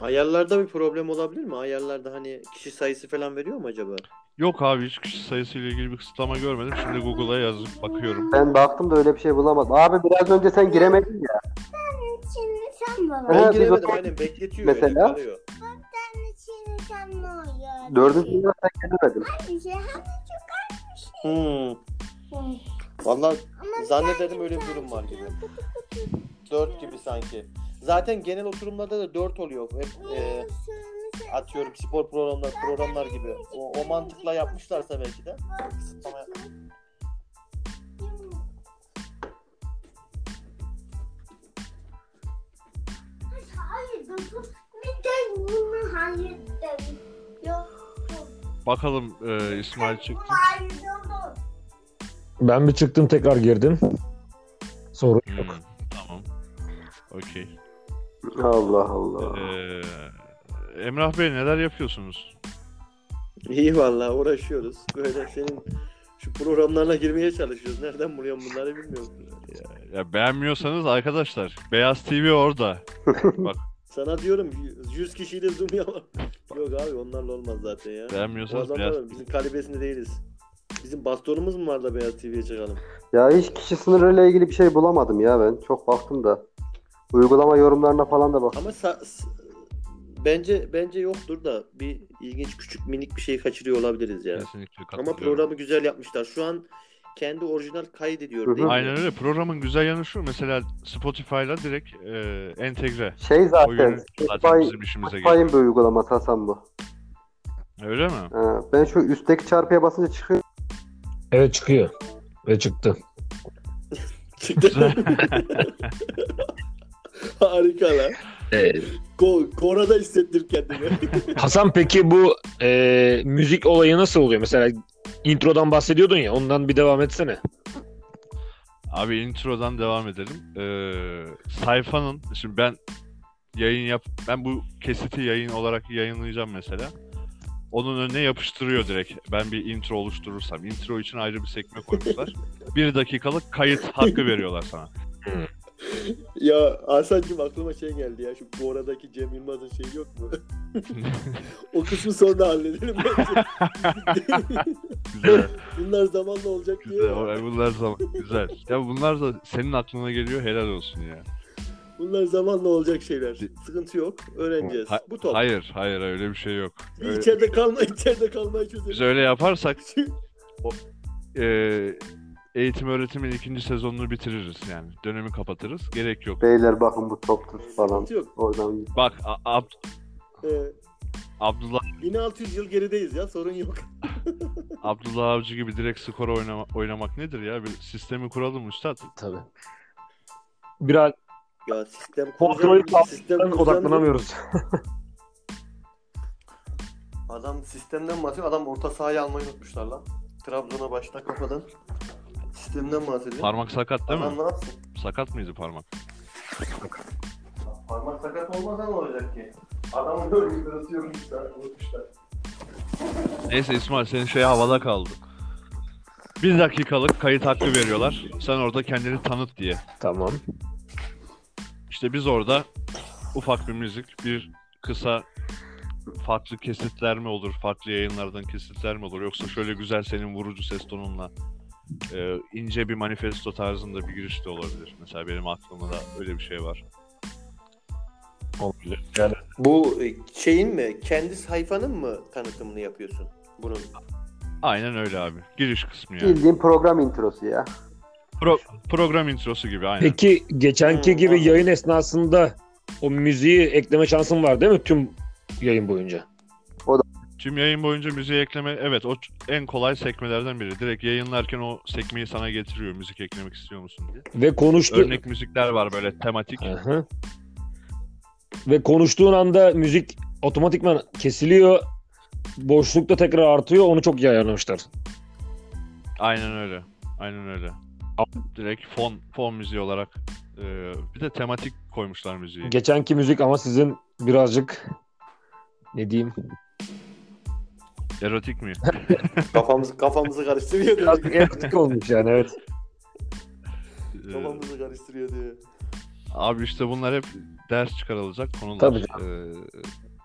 [SPEAKER 5] Ayarlarda bir problem olabilir mi? Ayarlarda hani kişi sayısı falan veriyor mu acaba?
[SPEAKER 2] Yok abi hiç kişi sayısıyla ilgili bir kısıtlama görmedim. Şimdi Google'a yazıp bakıyorum.
[SPEAKER 1] Ben baktım da öyle bir şey bulamadım. Abi biraz önce sen giremedin ya.
[SPEAKER 6] Şimdi sen baba.
[SPEAKER 1] Evet.
[SPEAKER 5] Ben
[SPEAKER 1] biz
[SPEAKER 5] giremedim
[SPEAKER 1] o-
[SPEAKER 5] aynen bekletiyor.
[SPEAKER 1] Mesela?
[SPEAKER 5] öyle, arıyor.
[SPEAKER 6] Şimdi şimdi sen ne oluyor?
[SPEAKER 1] Dördüncü yılda sen giremedin.
[SPEAKER 6] Bir şey hani
[SPEAKER 5] Hmm.
[SPEAKER 6] çok
[SPEAKER 5] Vallahi
[SPEAKER 6] Ama
[SPEAKER 5] zannederim öyle bir durum var gibi. Dört gibi sanki. Zaten genel oturumlarda da dört oluyor. Hep e, atıyorum spor programlar programlar gibi. O, o mantıkla yapmışlarsa belki de. Ama
[SPEAKER 6] Hayır dokuz. Bir de bunu hayır dedim. Yok.
[SPEAKER 2] Bakalım e, İsmail çıktı.
[SPEAKER 6] Hayır dokuz.
[SPEAKER 3] Ben bir çıktım tekrar girdim. Sorun
[SPEAKER 2] Hmm, tamam. Okey.
[SPEAKER 1] Allah Allah.
[SPEAKER 2] Ee, Emrah Bey neler yapıyorsunuz?
[SPEAKER 5] İyi vallahi uğraşıyoruz. Böyle senin şu programlarına girmeye çalışıyoruz. Nereden buluyorum bunları bilmiyorum.
[SPEAKER 2] Ya beğenmiyorsanız arkadaşlar Beyaz TV orada.
[SPEAKER 5] Sana diyorum 100 kişiyle zoom yapalım. Yok abi onlarla olmaz zaten ya. O
[SPEAKER 2] Beğenmiyorsanız Beyaz
[SPEAKER 5] adamlar bizim kalibresinde değiliz. Bizim bastonumuz mu var da Beyaz TV'ye çıkalım?
[SPEAKER 1] Ya hiç kişi sınırıyla ilgili bir şey bulamadım ya ben. Çok baktım da. Uygulama yorumlarına falan da bak.
[SPEAKER 5] Ama sa- s- bence bence yoktur da bir ilginç küçük minik bir şey kaçırıyor olabiliriz yani.
[SPEAKER 2] kesinlikle
[SPEAKER 5] Ama
[SPEAKER 2] katılıyorum.
[SPEAKER 5] programı güzel yapmışlar. Şu an kendi orijinal kaydediyor
[SPEAKER 1] Hı
[SPEAKER 5] değil
[SPEAKER 1] hı.
[SPEAKER 5] mi?
[SPEAKER 2] Aynen
[SPEAKER 5] [laughs]
[SPEAKER 2] öyle. Programın güzel yanı şu. Mesela Spotify'la direkt e, entegre.
[SPEAKER 1] Şey
[SPEAKER 2] O
[SPEAKER 1] zaten.
[SPEAKER 2] yönü zaten bizim
[SPEAKER 1] Spotify,
[SPEAKER 2] işimize geliyor.
[SPEAKER 1] Spotify'ın bir uygulaması Hasan bu.
[SPEAKER 2] Öyle mi?
[SPEAKER 1] Ee, ben şu üstteki çarpıya basınca çıkıyor.
[SPEAKER 3] Evet çıkıyor. Ve çıktı.
[SPEAKER 5] Çıktı. Harika lan. Ko- Korada hissettim kendimi. [laughs]
[SPEAKER 3] Hasan peki bu e, müzik olayı nasıl oluyor? Mesela introdan bahsediyordun ya ondan bir devam etsene.
[SPEAKER 2] Abi introdan devam edelim. Ee, sayfanın şimdi ben yayın yap ben bu kesiti yayın olarak yayınlayacağım mesela. Onun önüne yapıştırıyor direkt. Ben bir intro oluşturursam. Intro için ayrı bir sekme
[SPEAKER 1] [laughs]
[SPEAKER 2] koymuşlar. bir dakikalık kayıt hakkı veriyorlar sana.
[SPEAKER 5] Ya Hasan'cığım aklıma şey geldi ya şu Bora'daki Cem Yılmaz'ın şeyi
[SPEAKER 2] [laughs]
[SPEAKER 5] yok mu? o kısmı sonra halledelim bence.
[SPEAKER 2] Güzel.
[SPEAKER 5] [laughs] Bunlar zamanla olacak diye.
[SPEAKER 2] Güzel. O- Bunlar zaman güzel. Ya bunlar da senin aklına geliyor helal olsun ya.
[SPEAKER 5] Bunlar zamanla olacak şeyler. Sıkıntı yok. Öğreneceğiz.
[SPEAKER 2] Ha-
[SPEAKER 5] Bu top.
[SPEAKER 2] Hayır, hayır öyle bir şey yok. Öyle-
[SPEAKER 5] İçeride kalma, içeride kalmayı
[SPEAKER 2] Biz
[SPEAKER 5] [laughs] çözelim.
[SPEAKER 2] öyle yaparsak e, eğitim öğretimin ikinci sezonunu bitiririz yani. Dönemi kapatırız. Gerek yok.
[SPEAKER 1] Beyler bakın bu toptur falan.
[SPEAKER 5] Sıkıntı yok.
[SPEAKER 1] Oradan
[SPEAKER 2] Bak A- Ab-
[SPEAKER 5] Ee,
[SPEAKER 2] Abdullah
[SPEAKER 5] 1600 yıl gerideyiz ya sorun yok.
[SPEAKER 2] Abdullah Avcı gibi direkt skor oynama, oynamak nedir ya? Bir sistemi kuralım üstad.
[SPEAKER 3] Tabii. Biraz
[SPEAKER 5] Ya sistem
[SPEAKER 3] Kontrolü
[SPEAKER 5] kuracağım, sistem kuracağım.
[SPEAKER 3] odaklanamıyoruz.
[SPEAKER 5] Adam sistemden bahsediyor. Adam orta sahayı almayı unutmuşlar lan. Trabzon'a başla kafadan. Sistemden bahsediyor.
[SPEAKER 2] Parmak sakat değil mi?
[SPEAKER 5] Adam ne yapsın?
[SPEAKER 2] Sakat mıydı parmak?
[SPEAKER 5] Parmak sakat olmadan olacak ki. Adamın böyle bir kırısı yok işte. Unutmuşlar.
[SPEAKER 2] Neyse İsmail senin şey havada kaldı. Bir dakikalık kayıt hakkı veriyorlar. Sen orada kendini tanıt diye.
[SPEAKER 3] Tamam.
[SPEAKER 2] İşte biz orada ufak bir müzik, bir kısa farklı kesitler mi olur, farklı yayınlardan kesitler mi olur? Yoksa şöyle güzel senin vurucu ses tonunla e, ince bir manifesto tarzında bir giriş de olabilir. Mesela benim aklımda öyle bir şey var.
[SPEAKER 3] Olabilir.
[SPEAKER 5] Bu e, şeyin mi? Kendi sayfanın mı tanıtımını yapıyorsun?
[SPEAKER 2] [laughs]
[SPEAKER 5] Bunun.
[SPEAKER 2] Aynen öyle abi. Giriş kısmı yani.
[SPEAKER 1] bildiğin program introsu ya.
[SPEAKER 2] Program introsu gibi aynen.
[SPEAKER 3] Peki geçenki
[SPEAKER 5] Hmm,
[SPEAKER 3] gibi
[SPEAKER 5] anladım.
[SPEAKER 3] yayın esnasında o müziği ekleme şansın var değil mi tüm yayın boyunca?
[SPEAKER 2] Tüm yayın boyunca müziği ekleme evet o ç- en kolay sekmelerden biri. Direkt yayınlarken o sekmeyi sana getiriyor müzik eklemek istiyor musun diye.
[SPEAKER 3] Ve konuştu.
[SPEAKER 2] Örnek müzikler var böyle tematik.
[SPEAKER 3] Hı hı. Ve konuştuğun anda müzik otomatikman kesiliyor. Boşlukta tekrar artıyor. Onu çok iyi ayarlamışlar.
[SPEAKER 2] Aynen öyle. Aynen öyle. Direkt fon fon müziği olarak e, bir de tematik koymuşlar müziği.
[SPEAKER 3] Geçenki müzik ama sizin birazcık ne diyeyim?
[SPEAKER 2] Erotik mi?
[SPEAKER 5] Kafamızı kafamızı karıştırıyor
[SPEAKER 2] [laughs]
[SPEAKER 5] diyor.
[SPEAKER 2] Ee,
[SPEAKER 3] Birazcık erotik olmuş yani evet.
[SPEAKER 2] E,
[SPEAKER 5] kafamızı karıştırıyor diyor.
[SPEAKER 2] abi işte bunlar hep ders çıkarılacak konular.
[SPEAKER 3] Tabii
[SPEAKER 2] E,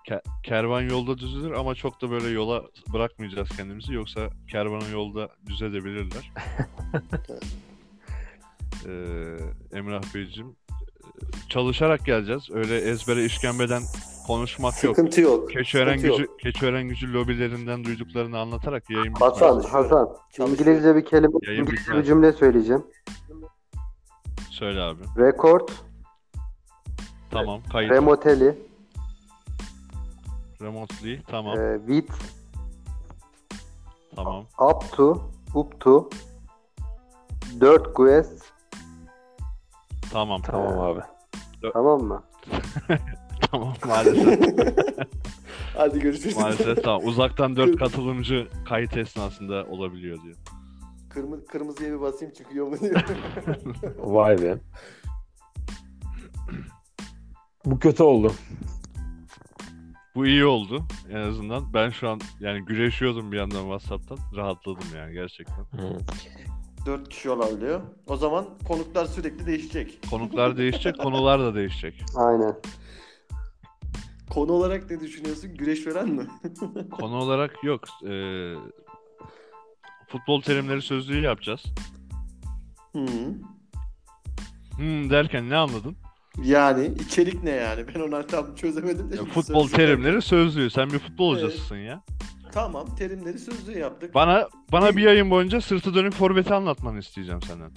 [SPEAKER 2] Ke- kervan yolda düzülür ama çok da böyle yola bırakmayacağız kendimizi. Yoksa kervanı yolda düzedebilirler. ee, Emrah Beyciğim e, çalışarak geleceğiz. Öyle ezbere işkembeden konuşmak yok.
[SPEAKER 5] Sıkıntı yok.
[SPEAKER 2] Keçiören
[SPEAKER 5] sıkıntı
[SPEAKER 2] gücü, Keçiören gücü lobilerinden duyduklarını anlatarak yayın
[SPEAKER 1] Hasan,
[SPEAKER 2] bitmez.
[SPEAKER 1] Hasan.
[SPEAKER 5] Çalışıyor.
[SPEAKER 1] İngilizce bir kelime,
[SPEAKER 2] Yayın
[SPEAKER 1] İngilizce bir
[SPEAKER 2] bitmez.
[SPEAKER 1] cümle söyleyeceğim.
[SPEAKER 2] Söyle abi.
[SPEAKER 1] Record,
[SPEAKER 2] Tamam. Kayıt.
[SPEAKER 1] remotely,
[SPEAKER 2] Remotely. Tamam.
[SPEAKER 1] e, with,
[SPEAKER 2] Tamam.
[SPEAKER 1] up to, up to, 4 quest,
[SPEAKER 2] Tamam.
[SPEAKER 7] Tamam abi.
[SPEAKER 1] tamam mı?
[SPEAKER 2] [laughs] Tamam. Maalesef.
[SPEAKER 5] Hadi görüşürüz.
[SPEAKER 2] maalesef tamam. Uzaktan dört katılımcı kayıt esnasında olabiliyor diyor.
[SPEAKER 5] Kırmızı, kırmızıya bir basayım çıkıyor mu diye.
[SPEAKER 7] Vay be.
[SPEAKER 3] Bu kötü oldu.
[SPEAKER 2] Bu iyi oldu en azından. Ben şu an yani güreşiyordum bir yandan WhatsApp'tan. Rahatladım yani gerçekten.
[SPEAKER 7] Hı.
[SPEAKER 5] Dört kişi olabiliyor. O zaman konuklar sürekli değişecek.
[SPEAKER 2] Konuklar değişecek, konular da değişecek.
[SPEAKER 1] Aynen.
[SPEAKER 5] Konu olarak ne düşünüyorsun? Güreş veren mi? [laughs]
[SPEAKER 2] Konu olarak yok. Ee, futbol terimleri sözlüğü yapacağız.
[SPEAKER 5] Hı -hı.
[SPEAKER 2] Hmm derken ne anladın?
[SPEAKER 5] Yani içerik ne yani? Ben onu tam çözemedim. de
[SPEAKER 2] Ya,
[SPEAKER 5] şimdi
[SPEAKER 2] futbol
[SPEAKER 5] sözlüğü-
[SPEAKER 2] terimleri sözlüğü. Sen bir futbol
[SPEAKER 5] Evet.
[SPEAKER 2] hocasısın ya.
[SPEAKER 5] Tamam terimleri sözlüğü yaptık.
[SPEAKER 2] Bana bana bir yayın boyunca sırtı dönük forveti anlatmanı isteyeceğim senden.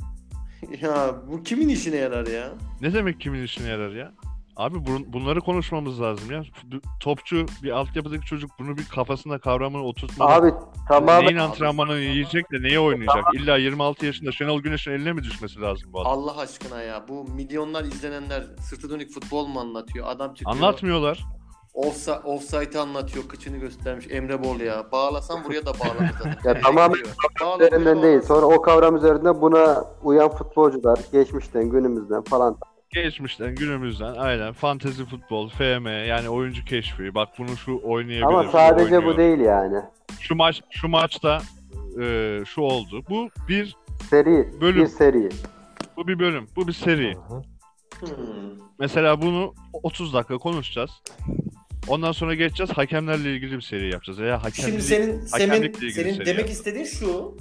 [SPEAKER 5] Ya bu kimin işine yarar ya?
[SPEAKER 2] Ne demek kimin işine yarar ya? Abi bun- bunları konuşmamız lazım ya. Bu- Topçu bir altyapıdaki çocuk bunu bir kafasına kavramını oturtmalı.
[SPEAKER 1] Abi tamamen
[SPEAKER 2] Neyin antrenmanını yiyecek de neyi oynayacak? İlla 26 yaşında Şenol Güneş'in eline mi düşmesi lazım bu adam?
[SPEAKER 5] Allah aşkına ya bu milyonlar izlenenler sırtı dönük futbol mu anlatıyor? Adam çıkıyor.
[SPEAKER 2] Anlatmıyorlar.
[SPEAKER 5] Offside, offside'ı anlatıyor. Kıçını göstermiş Emre Bol ya. Bağlasan buraya da bağlanır zaten.
[SPEAKER 1] Ya tamamen
[SPEAKER 5] Bekliyor. Bağla buraya
[SPEAKER 1] üzerinden değil.
[SPEAKER 5] bağlansın.
[SPEAKER 1] Sonra o kavram üzerinden buna uyan futbolcular geçmişten, günümüzden falan.
[SPEAKER 2] Geçmişten, günümüzden aynen fantezi futbol, FM yani oyuncu keşfi. Bak bunu şu oynayabilir.
[SPEAKER 1] Ama
[SPEAKER 2] şu
[SPEAKER 1] sadece
[SPEAKER 2] oynuyor.
[SPEAKER 1] bu değil yani.
[SPEAKER 2] Şu maç şu maçta e, şu oldu. Bu bir
[SPEAKER 1] Seri,
[SPEAKER 2] Bölüm.
[SPEAKER 1] bir seri.
[SPEAKER 2] bu bir bölüm. Bu bir seri.
[SPEAKER 5] Hmm.
[SPEAKER 2] Mesela bunu 30 dakika konuşacağız. Ondan sonra geçeceğiz hakemlerle ilgili bir seri yapacağız. Ya hakem
[SPEAKER 5] Şimdi senin senin,
[SPEAKER 2] hakemlikle ilgili şey
[SPEAKER 5] senin
[SPEAKER 2] seri
[SPEAKER 5] demek
[SPEAKER 2] yani.
[SPEAKER 5] istediğin şu.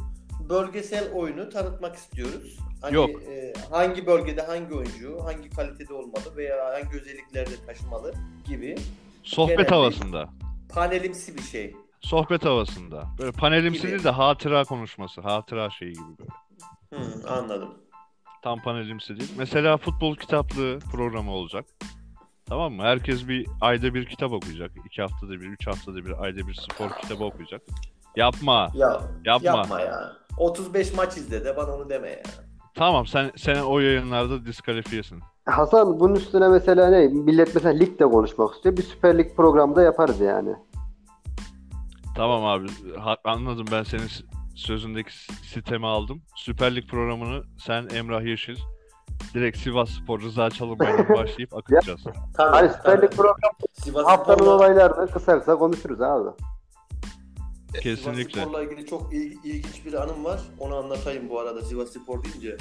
[SPEAKER 5] Bölgesel oyunu tanıtmak istiyoruz. Hani,
[SPEAKER 2] Yok.
[SPEAKER 5] e, hangi bölgede hangi oyuncu, hangi kalitede olmalı veya hangi özelliklerde taşımalı gibi
[SPEAKER 2] sohbet
[SPEAKER 5] Genel-
[SPEAKER 2] havasında.
[SPEAKER 5] panelimsi bir şey.
[SPEAKER 2] Sohbet havasında. Böyle panelimsi
[SPEAKER 5] Gibi.
[SPEAKER 2] değil de hatıra konuşması. Hatıra şeyi gibi böyle.
[SPEAKER 5] Hmm, anladım.
[SPEAKER 2] Tam panelimsi değil. Mesela futbol kitaplığı programı olacak. Tamam mı? Herkes bir ayda bir kitap okuyacak. iki haftada bir, üç haftada bir, ayda bir spor kitabı okuyacak. Yapma.
[SPEAKER 5] Ya
[SPEAKER 2] Yapma.
[SPEAKER 5] yapma ya. 35 maç izle de bana onu deme ya.
[SPEAKER 2] Tamam sen sen o yayınlarda diskalifiyesin.
[SPEAKER 1] Hasan bunun üstüne mesela ne? Millet mesela ligde konuşmak istiyor. Bir Süper Lig programı da yaparız yani.
[SPEAKER 2] Tamam abi. ha- anladım ben senin s- sözündeki s- sitemi aldım. Süper Lig programını sen Emrah Yeşil direkt Sivas Spor Rıza Çalınbay'la başlayıp akıtacağız.
[SPEAKER 5] Tabii.
[SPEAKER 1] Hani Süper
[SPEAKER 5] tabii.
[SPEAKER 1] Lig programı
[SPEAKER 5] Sivas
[SPEAKER 1] haftanın
[SPEAKER 5] Spor'la-
[SPEAKER 1] olaylarını kısa kısa konuşuruz abi.
[SPEAKER 2] Kesinlikle.
[SPEAKER 5] Sivas Spor'la ilgili çok il- ilginç bir anım var. Onu anlatayım bu arada Sivas Spor deyince.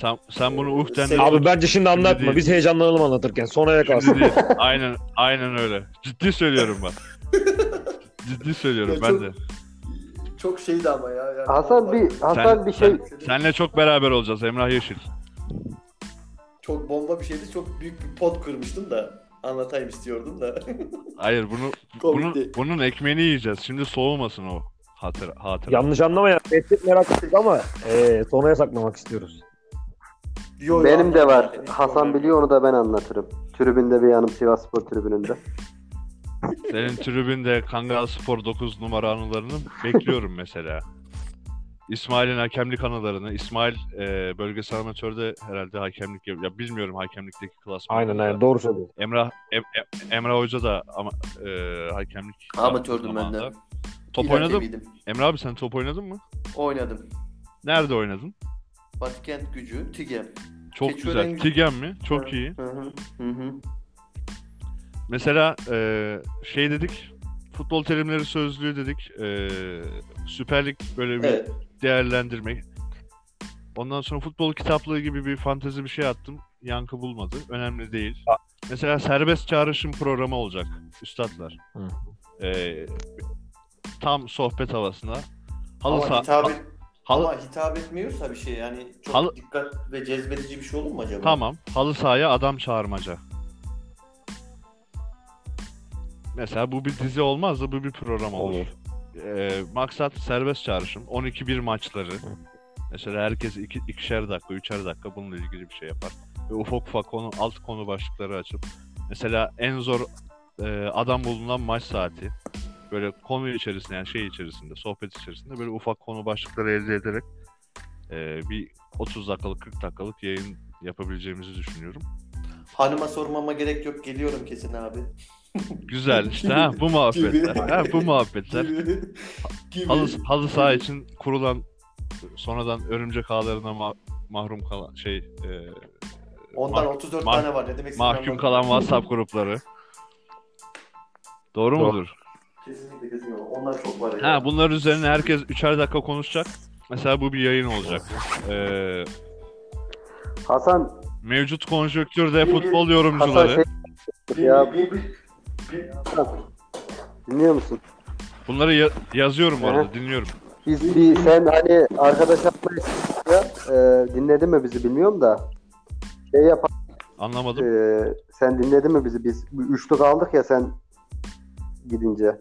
[SPEAKER 2] Sen, sen bunu uhden
[SPEAKER 5] Sen-
[SPEAKER 3] Abi bence şimdi anlatma.
[SPEAKER 2] değil.
[SPEAKER 3] Biz heyecanlanalım anlatırken. Sonraya kalsın.
[SPEAKER 2] Şimdi değil. Aynen, aynen öyle. Ciddi söylüyorum ben. Ciddi söylüyorum
[SPEAKER 5] Ya
[SPEAKER 2] ben
[SPEAKER 5] çok-
[SPEAKER 2] de.
[SPEAKER 5] Çok şeydi ama ya. yani
[SPEAKER 1] Hasan
[SPEAKER 5] bomba-
[SPEAKER 1] bir Hasan bir şey
[SPEAKER 2] Senle çok beraber olacağız Emrah Yeşil.
[SPEAKER 5] Çok bomba bir şeydi. Çok büyük bir pot kırmıştım da. Anlatayım
[SPEAKER 1] [laughs]
[SPEAKER 5] istiyordum da.
[SPEAKER 2] Hayır bunu bunun,
[SPEAKER 5] Komikti.
[SPEAKER 2] bunun ekmeğini yiyeceğiz. Şimdi soğumasın o hatır hatıra.
[SPEAKER 3] Yanlış anlama ya. Meslek merak ettik ama eee sonraya saklamak istiyoruz.
[SPEAKER 5] Yo, yo,
[SPEAKER 1] benim de var.
[SPEAKER 5] anlatayım. Hiç
[SPEAKER 1] Hasan
[SPEAKER 5] problem
[SPEAKER 1] biliyor
[SPEAKER 5] yok.
[SPEAKER 1] onu da ben anlatırım. Tribünde bir yanım Sivas Spor tribününde.
[SPEAKER 2] Senin tribünde Kangal Spor 9 numara anılarını bekliyorum mesela. İsmail'in hakemlik anılarını. İsmail e, bölgesel amatörde herhalde hakemlik yap- ya bilmiyorum hakemlikteki klasmanı.
[SPEAKER 7] Aynen aynen doğru söylüyorsun.
[SPEAKER 2] Emrah Em- Em- Emrah Hoca da ama e, hakemlik
[SPEAKER 5] Amatördüm ben
[SPEAKER 2] zamanında.
[SPEAKER 5] de.
[SPEAKER 2] Top
[SPEAKER 5] İlahi
[SPEAKER 2] oynadın mı?
[SPEAKER 5] miydim?
[SPEAKER 2] Emre abi sen top oynadın mı?
[SPEAKER 5] Oynadım.
[SPEAKER 2] Nerede oynadın?
[SPEAKER 5] Batıkent gücü, TİGEM.
[SPEAKER 2] Çok
[SPEAKER 5] Keçiören
[SPEAKER 2] güzel.
[SPEAKER 5] gücü.
[SPEAKER 2] Tigen mi? Çok
[SPEAKER 5] Hı,
[SPEAKER 2] iyi.
[SPEAKER 5] Hı hı. Hı hı.
[SPEAKER 2] Mesela e, şey dedik. Futbol terimleri sözlüğü dedik. E, Süper Lig böyle bir
[SPEAKER 5] Evet.
[SPEAKER 2] değerlendirme. Ondan sonra futbol kitaplığı gibi bir fantezi bir şey attım. Yankı bulmadı. Önemli değil. Mesela serbest çağrışım programı olacak. Üstadlar.
[SPEAKER 7] Hı.
[SPEAKER 2] Ee, tam sohbet havasında. Halı
[SPEAKER 5] Ama
[SPEAKER 2] saha-
[SPEAKER 5] hitap, et-
[SPEAKER 2] halı-
[SPEAKER 5] ama hitap etmiyorsa bir şey yani çok
[SPEAKER 2] Halı-
[SPEAKER 5] dikkat ve cezbedici bir şey olur mu acaba?
[SPEAKER 2] Tamam. Halı sahaya adam çağırmaca. Mesela bu bir dizi olmaz da bu bir program olur.
[SPEAKER 7] Olur.
[SPEAKER 2] Ee, maksat serbest çağrışım. 12-1 maçları. Mesela herkes iki, ikişer dakika, üçer dakika bununla ilgili bir şey yapar. Ve ufak ufak konu, alt konu başlıkları açıp. Mesela en zor e, adam bulunan maç saati. Böyle konu içerisinde yani şey içerisinde, sohbet içerisinde böyle ufak konu başlıkları elde ederek e, bir 30 dakikalık, 40 dakikalık yayın yapabileceğimizi düşünüyorum.
[SPEAKER 5] Hanıma sormama gerek yok geliyorum kesin abi.
[SPEAKER 2] Güzel işte ha bu muhabbetler. ha bu muhabbetler.
[SPEAKER 5] Gibi. [laughs] Gibi.
[SPEAKER 2] Halı, halı saha için kurulan sonradan örümcek ağlarına ma- mahrum kalan şey e,
[SPEAKER 5] Ondan
[SPEAKER 2] mah-
[SPEAKER 5] 34
[SPEAKER 2] mah-
[SPEAKER 5] tane var ne demek
[SPEAKER 2] mahkum
[SPEAKER 5] istediğimi
[SPEAKER 2] kalan
[SPEAKER 5] anladım.
[SPEAKER 2] WhatsApp grupları. Doğru
[SPEAKER 7] Doğru.
[SPEAKER 2] mudur?
[SPEAKER 5] Kesinlikle kesinlikle onlar çok var ya.
[SPEAKER 2] Ha bunlar üzerine herkes üçer dakika konuşacak. Mesela bu bir yayın olacak. Ee,
[SPEAKER 1] Hasan,
[SPEAKER 2] mevcut konjonktürde futbol yorumcuları.
[SPEAKER 1] Hasan şey... Ya
[SPEAKER 5] Bir- bir-
[SPEAKER 1] dinliyor musun?
[SPEAKER 2] Bunları ya- yazıyorum bu arada dinliyorum.
[SPEAKER 1] Biz bir sen hani arkadaş atmayız ya e, dinledin mi bizi bilmiyorum da şey yap
[SPEAKER 2] Anlamadım.
[SPEAKER 1] e, sen dinledin mi bizi biz üçlük aldık ya sen gidince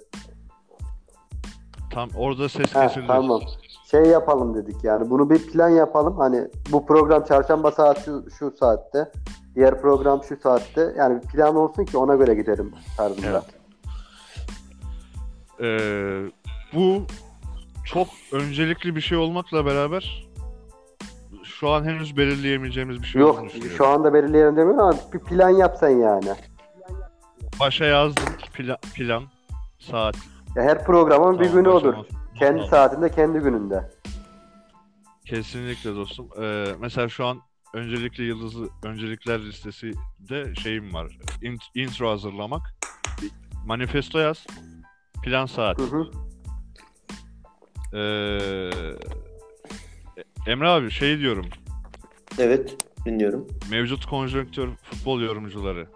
[SPEAKER 2] Tam orada ses
[SPEAKER 1] Ha,
[SPEAKER 2] kesildi.
[SPEAKER 1] tamam. şey yapalım dedik yani bunu bir plan yapalım hani bu program çarşamba saat şu, şu saatte diğer program şu saatte yani bir plan olsun ki ona göre gidelim tarzında.
[SPEAKER 2] Evet. Ee, bu çok öncelikli bir şey olmakla beraber şu an henüz belirleyemeyeceğimiz bir şey
[SPEAKER 1] Yok
[SPEAKER 2] olduğunu düşünüyorum.
[SPEAKER 1] şu anda belirleyelim demiyorum ama bir plan yapsan yani.
[SPEAKER 2] Başa yazdım pla- plan, saat.
[SPEAKER 1] Ya her programın bir
[SPEAKER 2] Tamam,
[SPEAKER 1] günü
[SPEAKER 2] başa
[SPEAKER 1] olur.
[SPEAKER 2] not- not
[SPEAKER 1] Kendi
[SPEAKER 2] aldım.
[SPEAKER 1] saatinde kendi gününde.
[SPEAKER 2] Kesinlikle dostum. Ee, mesela şu an öncelikli yıldızlı öncelikler listesi de şeyim var. İn- intro hazırlamak. Manifesto yaz. Plan saat.
[SPEAKER 1] Hı hı.
[SPEAKER 2] Ee, Emre abi şey diyorum.
[SPEAKER 5] Evet dinliyorum.
[SPEAKER 2] Mevcut konjonktür futbol yorumcuları.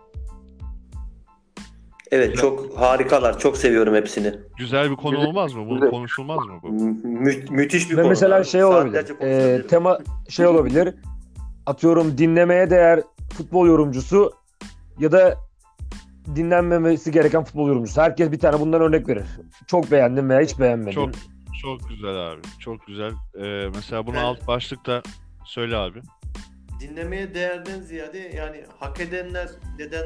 [SPEAKER 5] Evet çok harikalar. Çok seviyorum hepsini.
[SPEAKER 2] Güzel bir konu
[SPEAKER 1] Güzel-
[SPEAKER 2] olmaz mı? Bu
[SPEAKER 1] güzel.
[SPEAKER 2] konuşulmaz mı bu?
[SPEAKER 5] Mü- mü- müthiş bir
[SPEAKER 3] Ve
[SPEAKER 5] konu.
[SPEAKER 3] mesela şey olabilir.
[SPEAKER 5] Saatlerce
[SPEAKER 3] e,
[SPEAKER 5] konuşabilirim.
[SPEAKER 3] tema şey olabilir. Atıyorum dinlemeye değer futbol yorumcusu ya da dinlenmemesi gereken futbol yorumcusu. Herkes bir tane bundan örnek verir. Çok beğendim veya hiç beğenmedim.
[SPEAKER 2] Çok çok güzel abi. Çok güzel. Ee, mesela bunu
[SPEAKER 5] Ben-
[SPEAKER 2] alt başlıkta söyle abi.
[SPEAKER 5] dinlemeye değerden ziyade yani hak edenler neden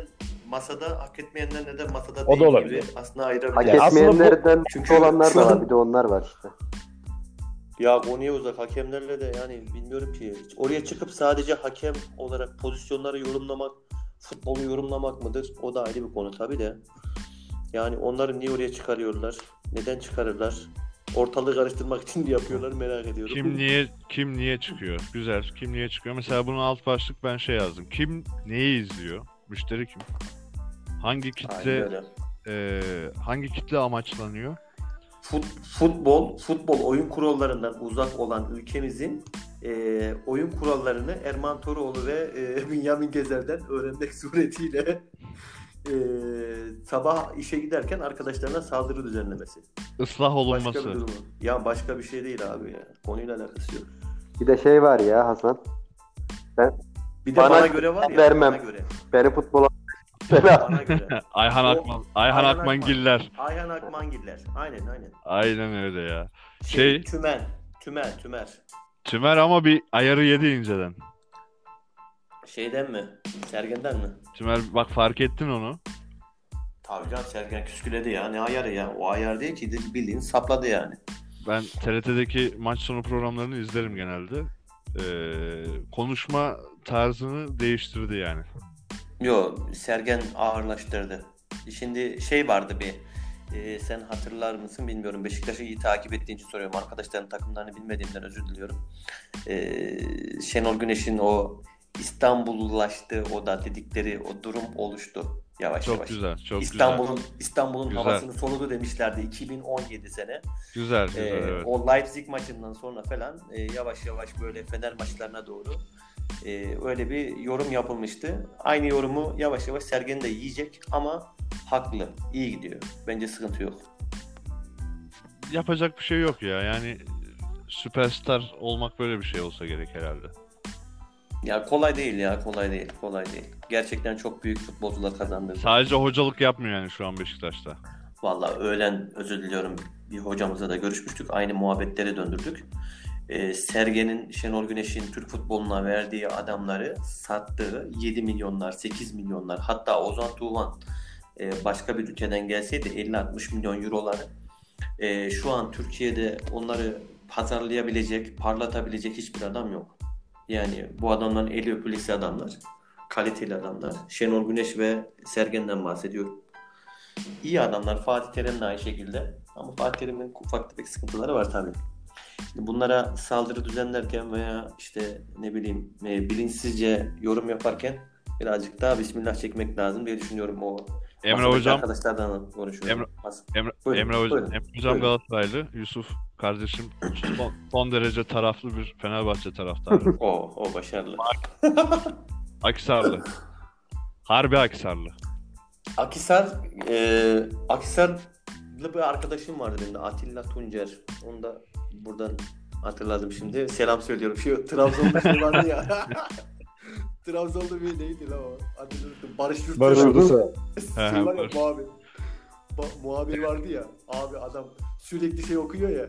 [SPEAKER 5] masada, hak etmeyenler neden masada
[SPEAKER 3] O da
[SPEAKER 5] değil
[SPEAKER 3] olabilir.
[SPEAKER 5] gibi aslında ayırabilir.
[SPEAKER 1] Hak
[SPEAKER 3] Yani aslında bu-
[SPEAKER 1] etmeyenlerden
[SPEAKER 5] Çünkü
[SPEAKER 1] olanlar
[SPEAKER 5] şu
[SPEAKER 1] da var.
[SPEAKER 5] an-
[SPEAKER 1] Bir de onlar var işte.
[SPEAKER 5] Ya konuya uzak hakemlerle de yani bilmiyorum ki. Oraya çıkıp sadece hakem olarak pozisyonları yorumlamak, futbolu yorumlamak mıdır? O da ayrı bir konu tabii de. Yani onları niye oraya çıkarıyorlar? Neden çıkarırlar? Ortalığı karıştırmak için mi yapıyorlar merak ediyorum.
[SPEAKER 2] Kim niye kim niye çıkıyor? Güzel. Kim niye çıkıyor? Mesela bunun alt başlık ben şey yazdım. Kim neyi izliyor? Müşteri kim? Hangi
[SPEAKER 5] Aynen
[SPEAKER 2] kitle
[SPEAKER 5] öyle.
[SPEAKER 2] e, hangi kitle amaçlanıyor?
[SPEAKER 5] Fut- futbol futbol oyun kurallarından uzak olan ülkemizin eee, oyun kurallarını Erman Toroğlu ve eee [laughs] Bünyamin Gezer'den öğrenmek suretiyle eee, sabah işe giderken arkadaşlarına saldırı düzenlemesi.
[SPEAKER 2] Islah
[SPEAKER 5] Başka bir
[SPEAKER 2] olunması.
[SPEAKER 5] durum. Ya başka bir şey değil abi ya. Konuyla alakası yok.
[SPEAKER 1] Bir de şey var ya Hasan.
[SPEAKER 5] Bir de
[SPEAKER 1] Bana
[SPEAKER 5] bana, göre var ya.
[SPEAKER 1] vermem.
[SPEAKER 5] Bana
[SPEAKER 1] [laughs]
[SPEAKER 5] göre.
[SPEAKER 1] Beni futbola
[SPEAKER 5] Bana göre.
[SPEAKER 2] Ayhan
[SPEAKER 5] O-
[SPEAKER 2] Akman, Ayhan
[SPEAKER 5] Ayhan
[SPEAKER 2] Akmangiller.
[SPEAKER 5] Ayhan Akmangiller. Aynen aynen.
[SPEAKER 2] Aynen öyle ya. Şey-
[SPEAKER 5] Tümen. Tümen. Tümer.
[SPEAKER 2] Tümer ama bir ayarı yedi inceden.
[SPEAKER 5] Şeyden mi? Sergen'den mi?
[SPEAKER 2] Tümer bak fark ettin onu.
[SPEAKER 5] Tabii canım Sergen küsküledi ya. Ne ayarı ya? O ayar değil ki. Bildiğin sapladı yani.
[SPEAKER 2] Ben TRT'deki maç sonu programlarını izlerim genelde. Ee, konuşma tarzını değiştirdi yani.
[SPEAKER 5] Yo Sergen ağırlaştırdı. Şimdi şey vardı bir. e, sen hatırlar mısın bilmiyorum. Beşiktaş'ı iyi takip ettiğin için soruyorum. Arkadaşların takımlarını bilmediğimden özür diliyorum. E, Şenol Güneş'in o İstanbullulaştı o da dedikleri o durum oluştu yavaş
[SPEAKER 2] Çok
[SPEAKER 5] yavaş.
[SPEAKER 2] güzel, çok
[SPEAKER 5] İstanbul'un İstanbul'un
[SPEAKER 2] Güzel.
[SPEAKER 5] havasını soludu demişlerdi 2017 sene.
[SPEAKER 2] güzel. Güzel, güzel
[SPEAKER 5] Ee,
[SPEAKER 2] evet.
[SPEAKER 5] e, O Leipzig maçından sonra falan e, yavaş yavaş böyle Fener maçlarına doğru Ee, öyle bir yorum yapılmıştı. Aynı yorumu yavaş yavaş Sergen de yiyecek ama haklı. İyi gidiyor. Bence sıkıntı yok.
[SPEAKER 2] Yapacak bir şey yok ya. Yani süperstar olmak böyle bir şey olsa gerek herhalde.
[SPEAKER 5] Ya kolay değil ya kolay değil kolay değil. Gerçekten çok büyük futbolcular kazandı.
[SPEAKER 2] Sadece hocalık yapmıyor yani şu an Beşiktaş'ta.
[SPEAKER 5] Vallahi öğlen özür diliyorum bir hocamızla da görüşmüştük. Aynı muhabbetlere döndürdük. Ee, Sergen'in, Şenol Güneş'in Türk futboluna verdiği adamları sattığı 7 milyonlar, 8 milyonlar hatta Ozan Tuğhan e, başka bir ülkeden gelseydi 50-60 milyon euroları e, şu an Türkiye'de onları pazarlayabilecek, parlatabilecek hiçbir adam yok. Yani bu adamların eli öpülesi adamlar. Kaliteli adamlar. Şenol Güneş ve Sergen'den bahsediyorum. İyi adamlar Fatih Terim de aynı şekilde. Ama Fatih Terim'in ufak tefek sıkıntıları var tabii. Şimdi bunlara saldırı düzenlerken veya işte ne bileyim e, bilinçsizce yorum yaparken birazcık daha bismillah çekmek lazım diye düşünüyorum o
[SPEAKER 2] Emre
[SPEAKER 5] masadaki
[SPEAKER 2] hocam,
[SPEAKER 5] arkadaşlardan konuşuyorum. Mas-
[SPEAKER 2] Emre,
[SPEAKER 5] Buyurun,
[SPEAKER 2] Emre hocam,
[SPEAKER 5] buyurun,
[SPEAKER 2] Emre hocam
[SPEAKER 5] buyurun.
[SPEAKER 2] Galatasaraylı. Yusuf kardeşim son, son derece taraflı bir Fenerbahçe taraftarı.
[SPEAKER 5] O, o başarılı.
[SPEAKER 2] Aksarlı. Harbi Aksarlı.
[SPEAKER 5] Akisar, e, Akisar'lı bir arkadaşım vardı benim de Atilla Tuncer. Onu da buradan hatırladım şimdi. Selam söylüyorum. Şu Trabzon'da şey vardı ya. [laughs] Trabzon'da bir neydi lan o? Adını unuttum. Barış Yurtsever.
[SPEAKER 7] Barış Yurtsever.
[SPEAKER 2] He,
[SPEAKER 5] Şey var ya,
[SPEAKER 2] Barış.
[SPEAKER 5] muhabir. Ba- muhabir vardı ya. Abi adam sürekli şey okuyor ya.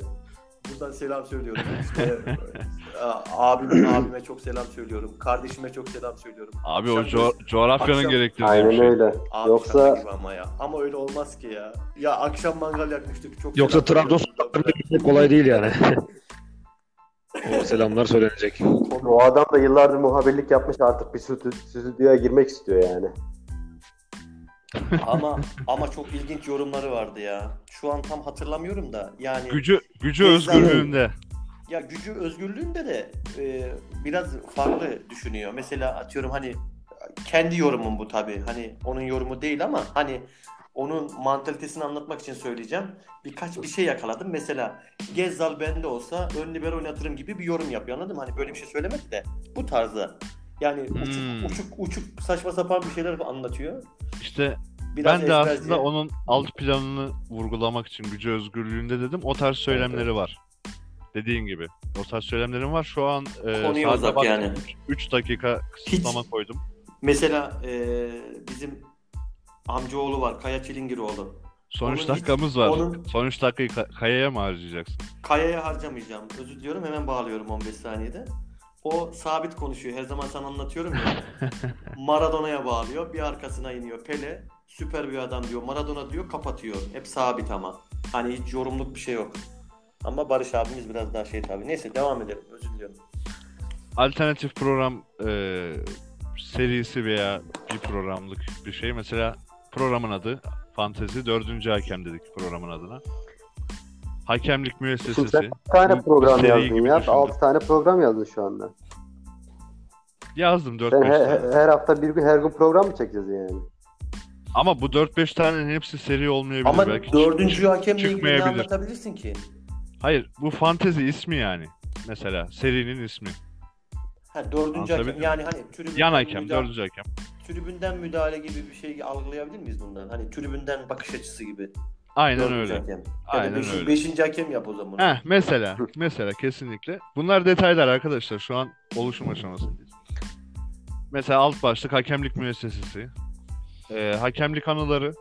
[SPEAKER 5] Buradan selam söylüyorum. İşte,
[SPEAKER 2] [laughs]
[SPEAKER 5] a- abime, abime çok selam söylüyorum. Kardeşime çok selam söylüyorum.
[SPEAKER 2] Abi o
[SPEAKER 5] Akşam
[SPEAKER 2] co- coğrafyanın
[SPEAKER 5] akşam-
[SPEAKER 2] gerektirdiği bir
[SPEAKER 1] Aynen
[SPEAKER 2] şey.
[SPEAKER 1] öyle.
[SPEAKER 5] Abi
[SPEAKER 1] Yoksa-
[SPEAKER 5] şaka gibi ama ya. Ama öyle olmaz ki ya. Ya akşam mangal yakmıştık çok.
[SPEAKER 7] Yoksa
[SPEAKER 5] selam
[SPEAKER 7] Trabzon
[SPEAKER 5] söylüyorum.
[SPEAKER 7] sokaklarında gitmek kolay değil
[SPEAKER 3] [laughs]
[SPEAKER 7] yani. o selamlar söylenecek.
[SPEAKER 1] O adam da yıllardır muhabirlik yapmış artık bir stü- stüdyoya girmek istiyor yani.
[SPEAKER 5] ama ama çok ilginç yorumları vardı ya. Şu an tam hatırlamıyorum da yani
[SPEAKER 2] Gücü, gücü
[SPEAKER 5] Biz
[SPEAKER 2] özgürlüğünde.
[SPEAKER 5] ya gücü özgürlüğünde de e, biraz farklı düşünüyor. Mesela atıyorum hani kendi yorumum bu tabii. Hani onun yorumu değil ama hani onun mantalitesini anlatmak için söyleyeceğim. Birkaç bir şey yakaladım. Mesela Gezzal bende olsa ön libero oynatırım gibi bir yorum yapıyor. Anladın mı? Hani böyle bir şey söylemedi de bu tarzda. Yani uçuk,
[SPEAKER 2] Hmm.
[SPEAKER 5] uçuk uçuk saçma sapan bir şeyler anlatıyor.
[SPEAKER 2] İşte ben
[SPEAKER 5] Biraz
[SPEAKER 2] de
[SPEAKER 5] ezber
[SPEAKER 2] aslında
[SPEAKER 5] diye.
[SPEAKER 2] onun alt planını vurgulamak için gücü özgürlüğünde dedim. O tarz söylemleri var. Dediğin gibi. O tarz söylemlerim var. Şu an e,
[SPEAKER 5] Konuya uzak yani.
[SPEAKER 2] 3 dakika kısıtlama koydum.
[SPEAKER 5] Mesela e, bizim amcaoğlu var. Kaya Çilingiroğlu.
[SPEAKER 2] Son
[SPEAKER 5] Onun
[SPEAKER 2] 3
[SPEAKER 5] hiç-
[SPEAKER 2] dakikaımız var.
[SPEAKER 5] onun-
[SPEAKER 2] Son 3 dakikayı Ka- Kaya'ya mı harcayacaksın?
[SPEAKER 5] Kaya'ya harcamayacağım. Özür diliyorum hemen bağlıyorum 15 saniyede. O sabit konuşuyor. Her zaman sana anlatıyorum
[SPEAKER 2] [laughs]
[SPEAKER 5] ya. Maradona'ya bağlıyor. Bir arkasına iniyor. Pele süper bir adam diyor. Maradona diyor kapatıyor. Hep sabit ama. Hani hiç yorumluk bir şey yok. Ama Barış abimiz biraz daha şey tabii. Neyse devam edelim. Özür diliyorum.
[SPEAKER 2] alternatif program e, serisi veya bir programlık bir şey. Mesela programın adı Fantezi 4. Hakem dedik programın adına. Hakemlik
[SPEAKER 1] Süper.
[SPEAKER 2] müessesesi
[SPEAKER 1] Bir tane
[SPEAKER 2] Bu-
[SPEAKER 1] program
[SPEAKER 2] seri
[SPEAKER 1] yazdın
[SPEAKER 2] gibi
[SPEAKER 1] ya.
[SPEAKER 2] düşündüm.
[SPEAKER 1] 6 tane program yazdın şu anda.
[SPEAKER 2] yazdım 4-5
[SPEAKER 1] Sen he-
[SPEAKER 2] tane.
[SPEAKER 1] he- her hafta bir gün her gün program mı çekeceğiz yani?
[SPEAKER 2] Ama bu 4-5 tanenin hepsi seri olmayabilir.
[SPEAKER 5] Ama
[SPEAKER 2] Belki
[SPEAKER 5] dördüncü hakemle ilgili ne
[SPEAKER 2] çıkmayabilir.
[SPEAKER 5] anlatabilirsin ki?
[SPEAKER 2] Hayır bu fantezi ismi yani. Mesela serinin ismi.
[SPEAKER 5] Ha, dördüncü
[SPEAKER 2] Anlatabildim
[SPEAKER 5] hakem
[SPEAKER 2] mi?
[SPEAKER 5] yani hani tribünden,
[SPEAKER 2] Yan hakem,
[SPEAKER 5] müdahale,
[SPEAKER 2] 4. hakem.
[SPEAKER 5] tribünden müdahale gibi bir şey algılayabilir miyiz bundan? Hani tribünden bakış açısı gibi.
[SPEAKER 2] Aynen
[SPEAKER 5] Dördüncü
[SPEAKER 2] öyle.
[SPEAKER 5] Hakem. Aynen
[SPEAKER 2] Aynen
[SPEAKER 5] beşinci,
[SPEAKER 2] öyle.
[SPEAKER 5] beşinci hakem yap o zaman.
[SPEAKER 2] Heh, mesela, mesela kesinlikle. Bunlar detaylar arkadaşlar. Şu an oluşum aşamasındayız. Mesela alt başlık hakemlik müessesesi. Ee, hakemlik anıları.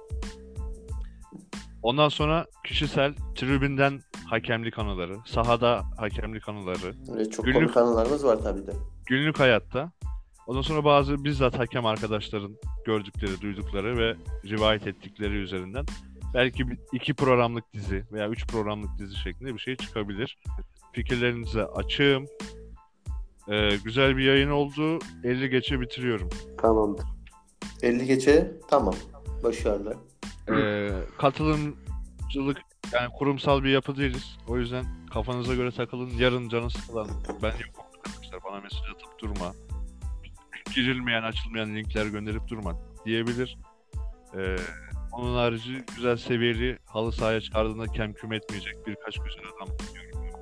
[SPEAKER 2] Ondan sonra kişisel tribünden hakemlik anıları. Sahada hakemlik anıları.
[SPEAKER 5] Öyle çok
[SPEAKER 2] Günlük-
[SPEAKER 5] komik anılarımız var tabii de.
[SPEAKER 2] Günlük hayatta. Ondan sonra bazı bizzat hakem arkadaşların gördükleri, duydukları ve rivayet ettikleri üzerinden belki bir- iki programlık dizi veya üç programlık dizi şeklinde bir şey çıkabilir. Fikirlerinize açığım. Ee, güzel bir yayın oldu. 50 geçe bitiriyorum.
[SPEAKER 1] Tamamdır.
[SPEAKER 5] 50 geçe tamam. Başarılı.
[SPEAKER 2] Ee, katılımcılık yani kurumsal bir yapı değiliz. O yüzden kafanıza göre takılın. Yarın canı sıkılan. Ben yokum arkadaşlar. Bana mesaj atıp durma. Girilmeyen, açılmayan linkler gönderip durma diyebilir. Ee, onun harici güzel seviyeli halı sahaya çıkardığında kem küm etmeyecek birkaç güzel adam görüyorum.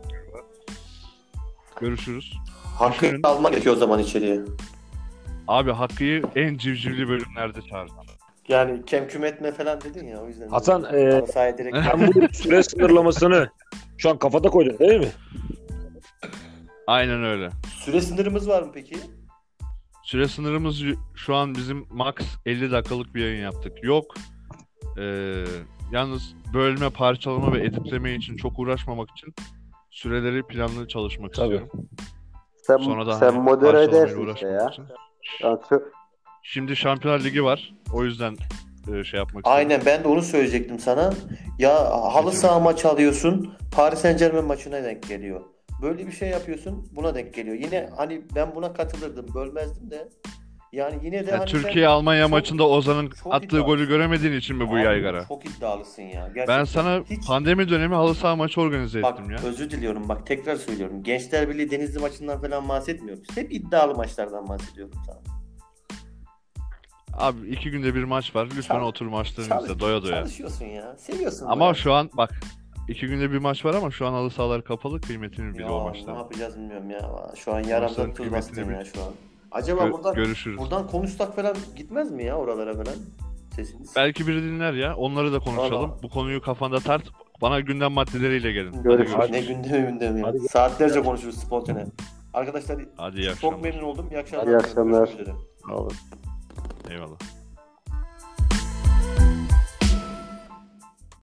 [SPEAKER 2] Görüşürüz.
[SPEAKER 5] Hakkı almak gerekiyor o zaman içeriye.
[SPEAKER 2] Abi Hakkı'yı en civcivli bölümlerde çağırdım.
[SPEAKER 5] Yani kem küm etme falan dedin ya o yüzden.
[SPEAKER 3] Hasan, e,
[SPEAKER 5] Masaya direkt
[SPEAKER 3] Ben bu süre sınırlamasını şu an kafada koydum değil mi?
[SPEAKER 2] Aynen öyle.
[SPEAKER 5] Süre sınırımız var mı peki?
[SPEAKER 2] Süre sınırımız y- şu an bizim max 50 dakikalık bir yayın yaptık. Yok. Ee, yalnız bölme, parçalama ve editleme için çok uğraşmamak için süreleri planlı çalışmak
[SPEAKER 7] Tabii.
[SPEAKER 2] istiyorum.
[SPEAKER 1] Sen,
[SPEAKER 2] Sonra da
[SPEAKER 1] sen
[SPEAKER 2] hani
[SPEAKER 1] modere
[SPEAKER 2] parçalamayla
[SPEAKER 1] edersin işte ya.
[SPEAKER 2] uğraşmamak için.
[SPEAKER 1] Ya çok-
[SPEAKER 2] Şimdi Şampiyonlar Ligi var. O yüzden e, şey yapmak istiyorum.
[SPEAKER 5] Aynen ben de onu söyleyecektim sana. Ya halı saha maç alıyorsun. Paris Saint Germain maçına denk geliyor. Böyle bir şey yapıyorsun buna denk geliyor. Yine hani ben buna katılırdım bölmezdim de. Yani yine de
[SPEAKER 2] Ya
[SPEAKER 5] hani sen
[SPEAKER 2] Türkiye-Almanya
[SPEAKER 5] çok-
[SPEAKER 2] maçında Ozan'ın
[SPEAKER 5] çok
[SPEAKER 2] attığı
[SPEAKER 5] iddialı.
[SPEAKER 2] golü göremediğin için mi bu
[SPEAKER 5] Abi,
[SPEAKER 2] yaygara?
[SPEAKER 5] Çok iddialısın ya. Gerçekten.
[SPEAKER 2] Ben sana
[SPEAKER 5] hiç-
[SPEAKER 2] pandemi dönemi halı saha maçı organize
[SPEAKER 5] Bak
[SPEAKER 2] ettim ya.
[SPEAKER 5] özür diliyorum bak tekrar söylüyorum. Gençler Birliği Denizli maçından falan bahsetmiyoruz. Hep iddialı maçlardan bahsediyorum sana.
[SPEAKER 2] Abi iki günde bir maç var. Lütfen
[SPEAKER 5] Çalış-
[SPEAKER 2] otur maçlarını
[SPEAKER 5] Çalış-
[SPEAKER 2] izle doya doya.
[SPEAKER 5] Çalışıyorsun ya. Seviyorsun.
[SPEAKER 2] Ama
[SPEAKER 5] bunu.
[SPEAKER 2] şu an bak iki günde bir maç var ama şu an halı sahalar kapalı kıymetini bil
[SPEAKER 5] Ya,
[SPEAKER 2] o
[SPEAKER 5] Ne
[SPEAKER 2] maçlar.
[SPEAKER 5] yapacağız bilmiyorum ya. Şu an yaramdan
[SPEAKER 2] Maçların
[SPEAKER 5] tuz
[SPEAKER 2] kıymetini
[SPEAKER 5] bastım
[SPEAKER 2] bil.
[SPEAKER 5] ya şu an. Acaba
[SPEAKER 2] Gö-
[SPEAKER 5] buradan
[SPEAKER 2] görüşürüz.
[SPEAKER 5] buradan konuşsak falan gitmez mi ya oralara falan? Sesiniz.
[SPEAKER 2] Belki biri dinler ya. Onları da konuşalım.
[SPEAKER 5] Valla.
[SPEAKER 2] Bu konuyu kafanda tart. Bana gündem maddeleriyle gelin. Hadi
[SPEAKER 1] Görüşürüz.
[SPEAKER 5] Ne gündemi gündemi. ya.
[SPEAKER 3] Hadi gel.
[SPEAKER 5] Saatlerce konuşuruz spontane. Arkadaşlar
[SPEAKER 2] Hadi iyi
[SPEAKER 5] çok
[SPEAKER 2] akşamlar.
[SPEAKER 5] memnun oldum. İyi akşamlar.
[SPEAKER 1] İyi akşamlar.
[SPEAKER 5] Görüşmek üzere.
[SPEAKER 2] Eyvallah.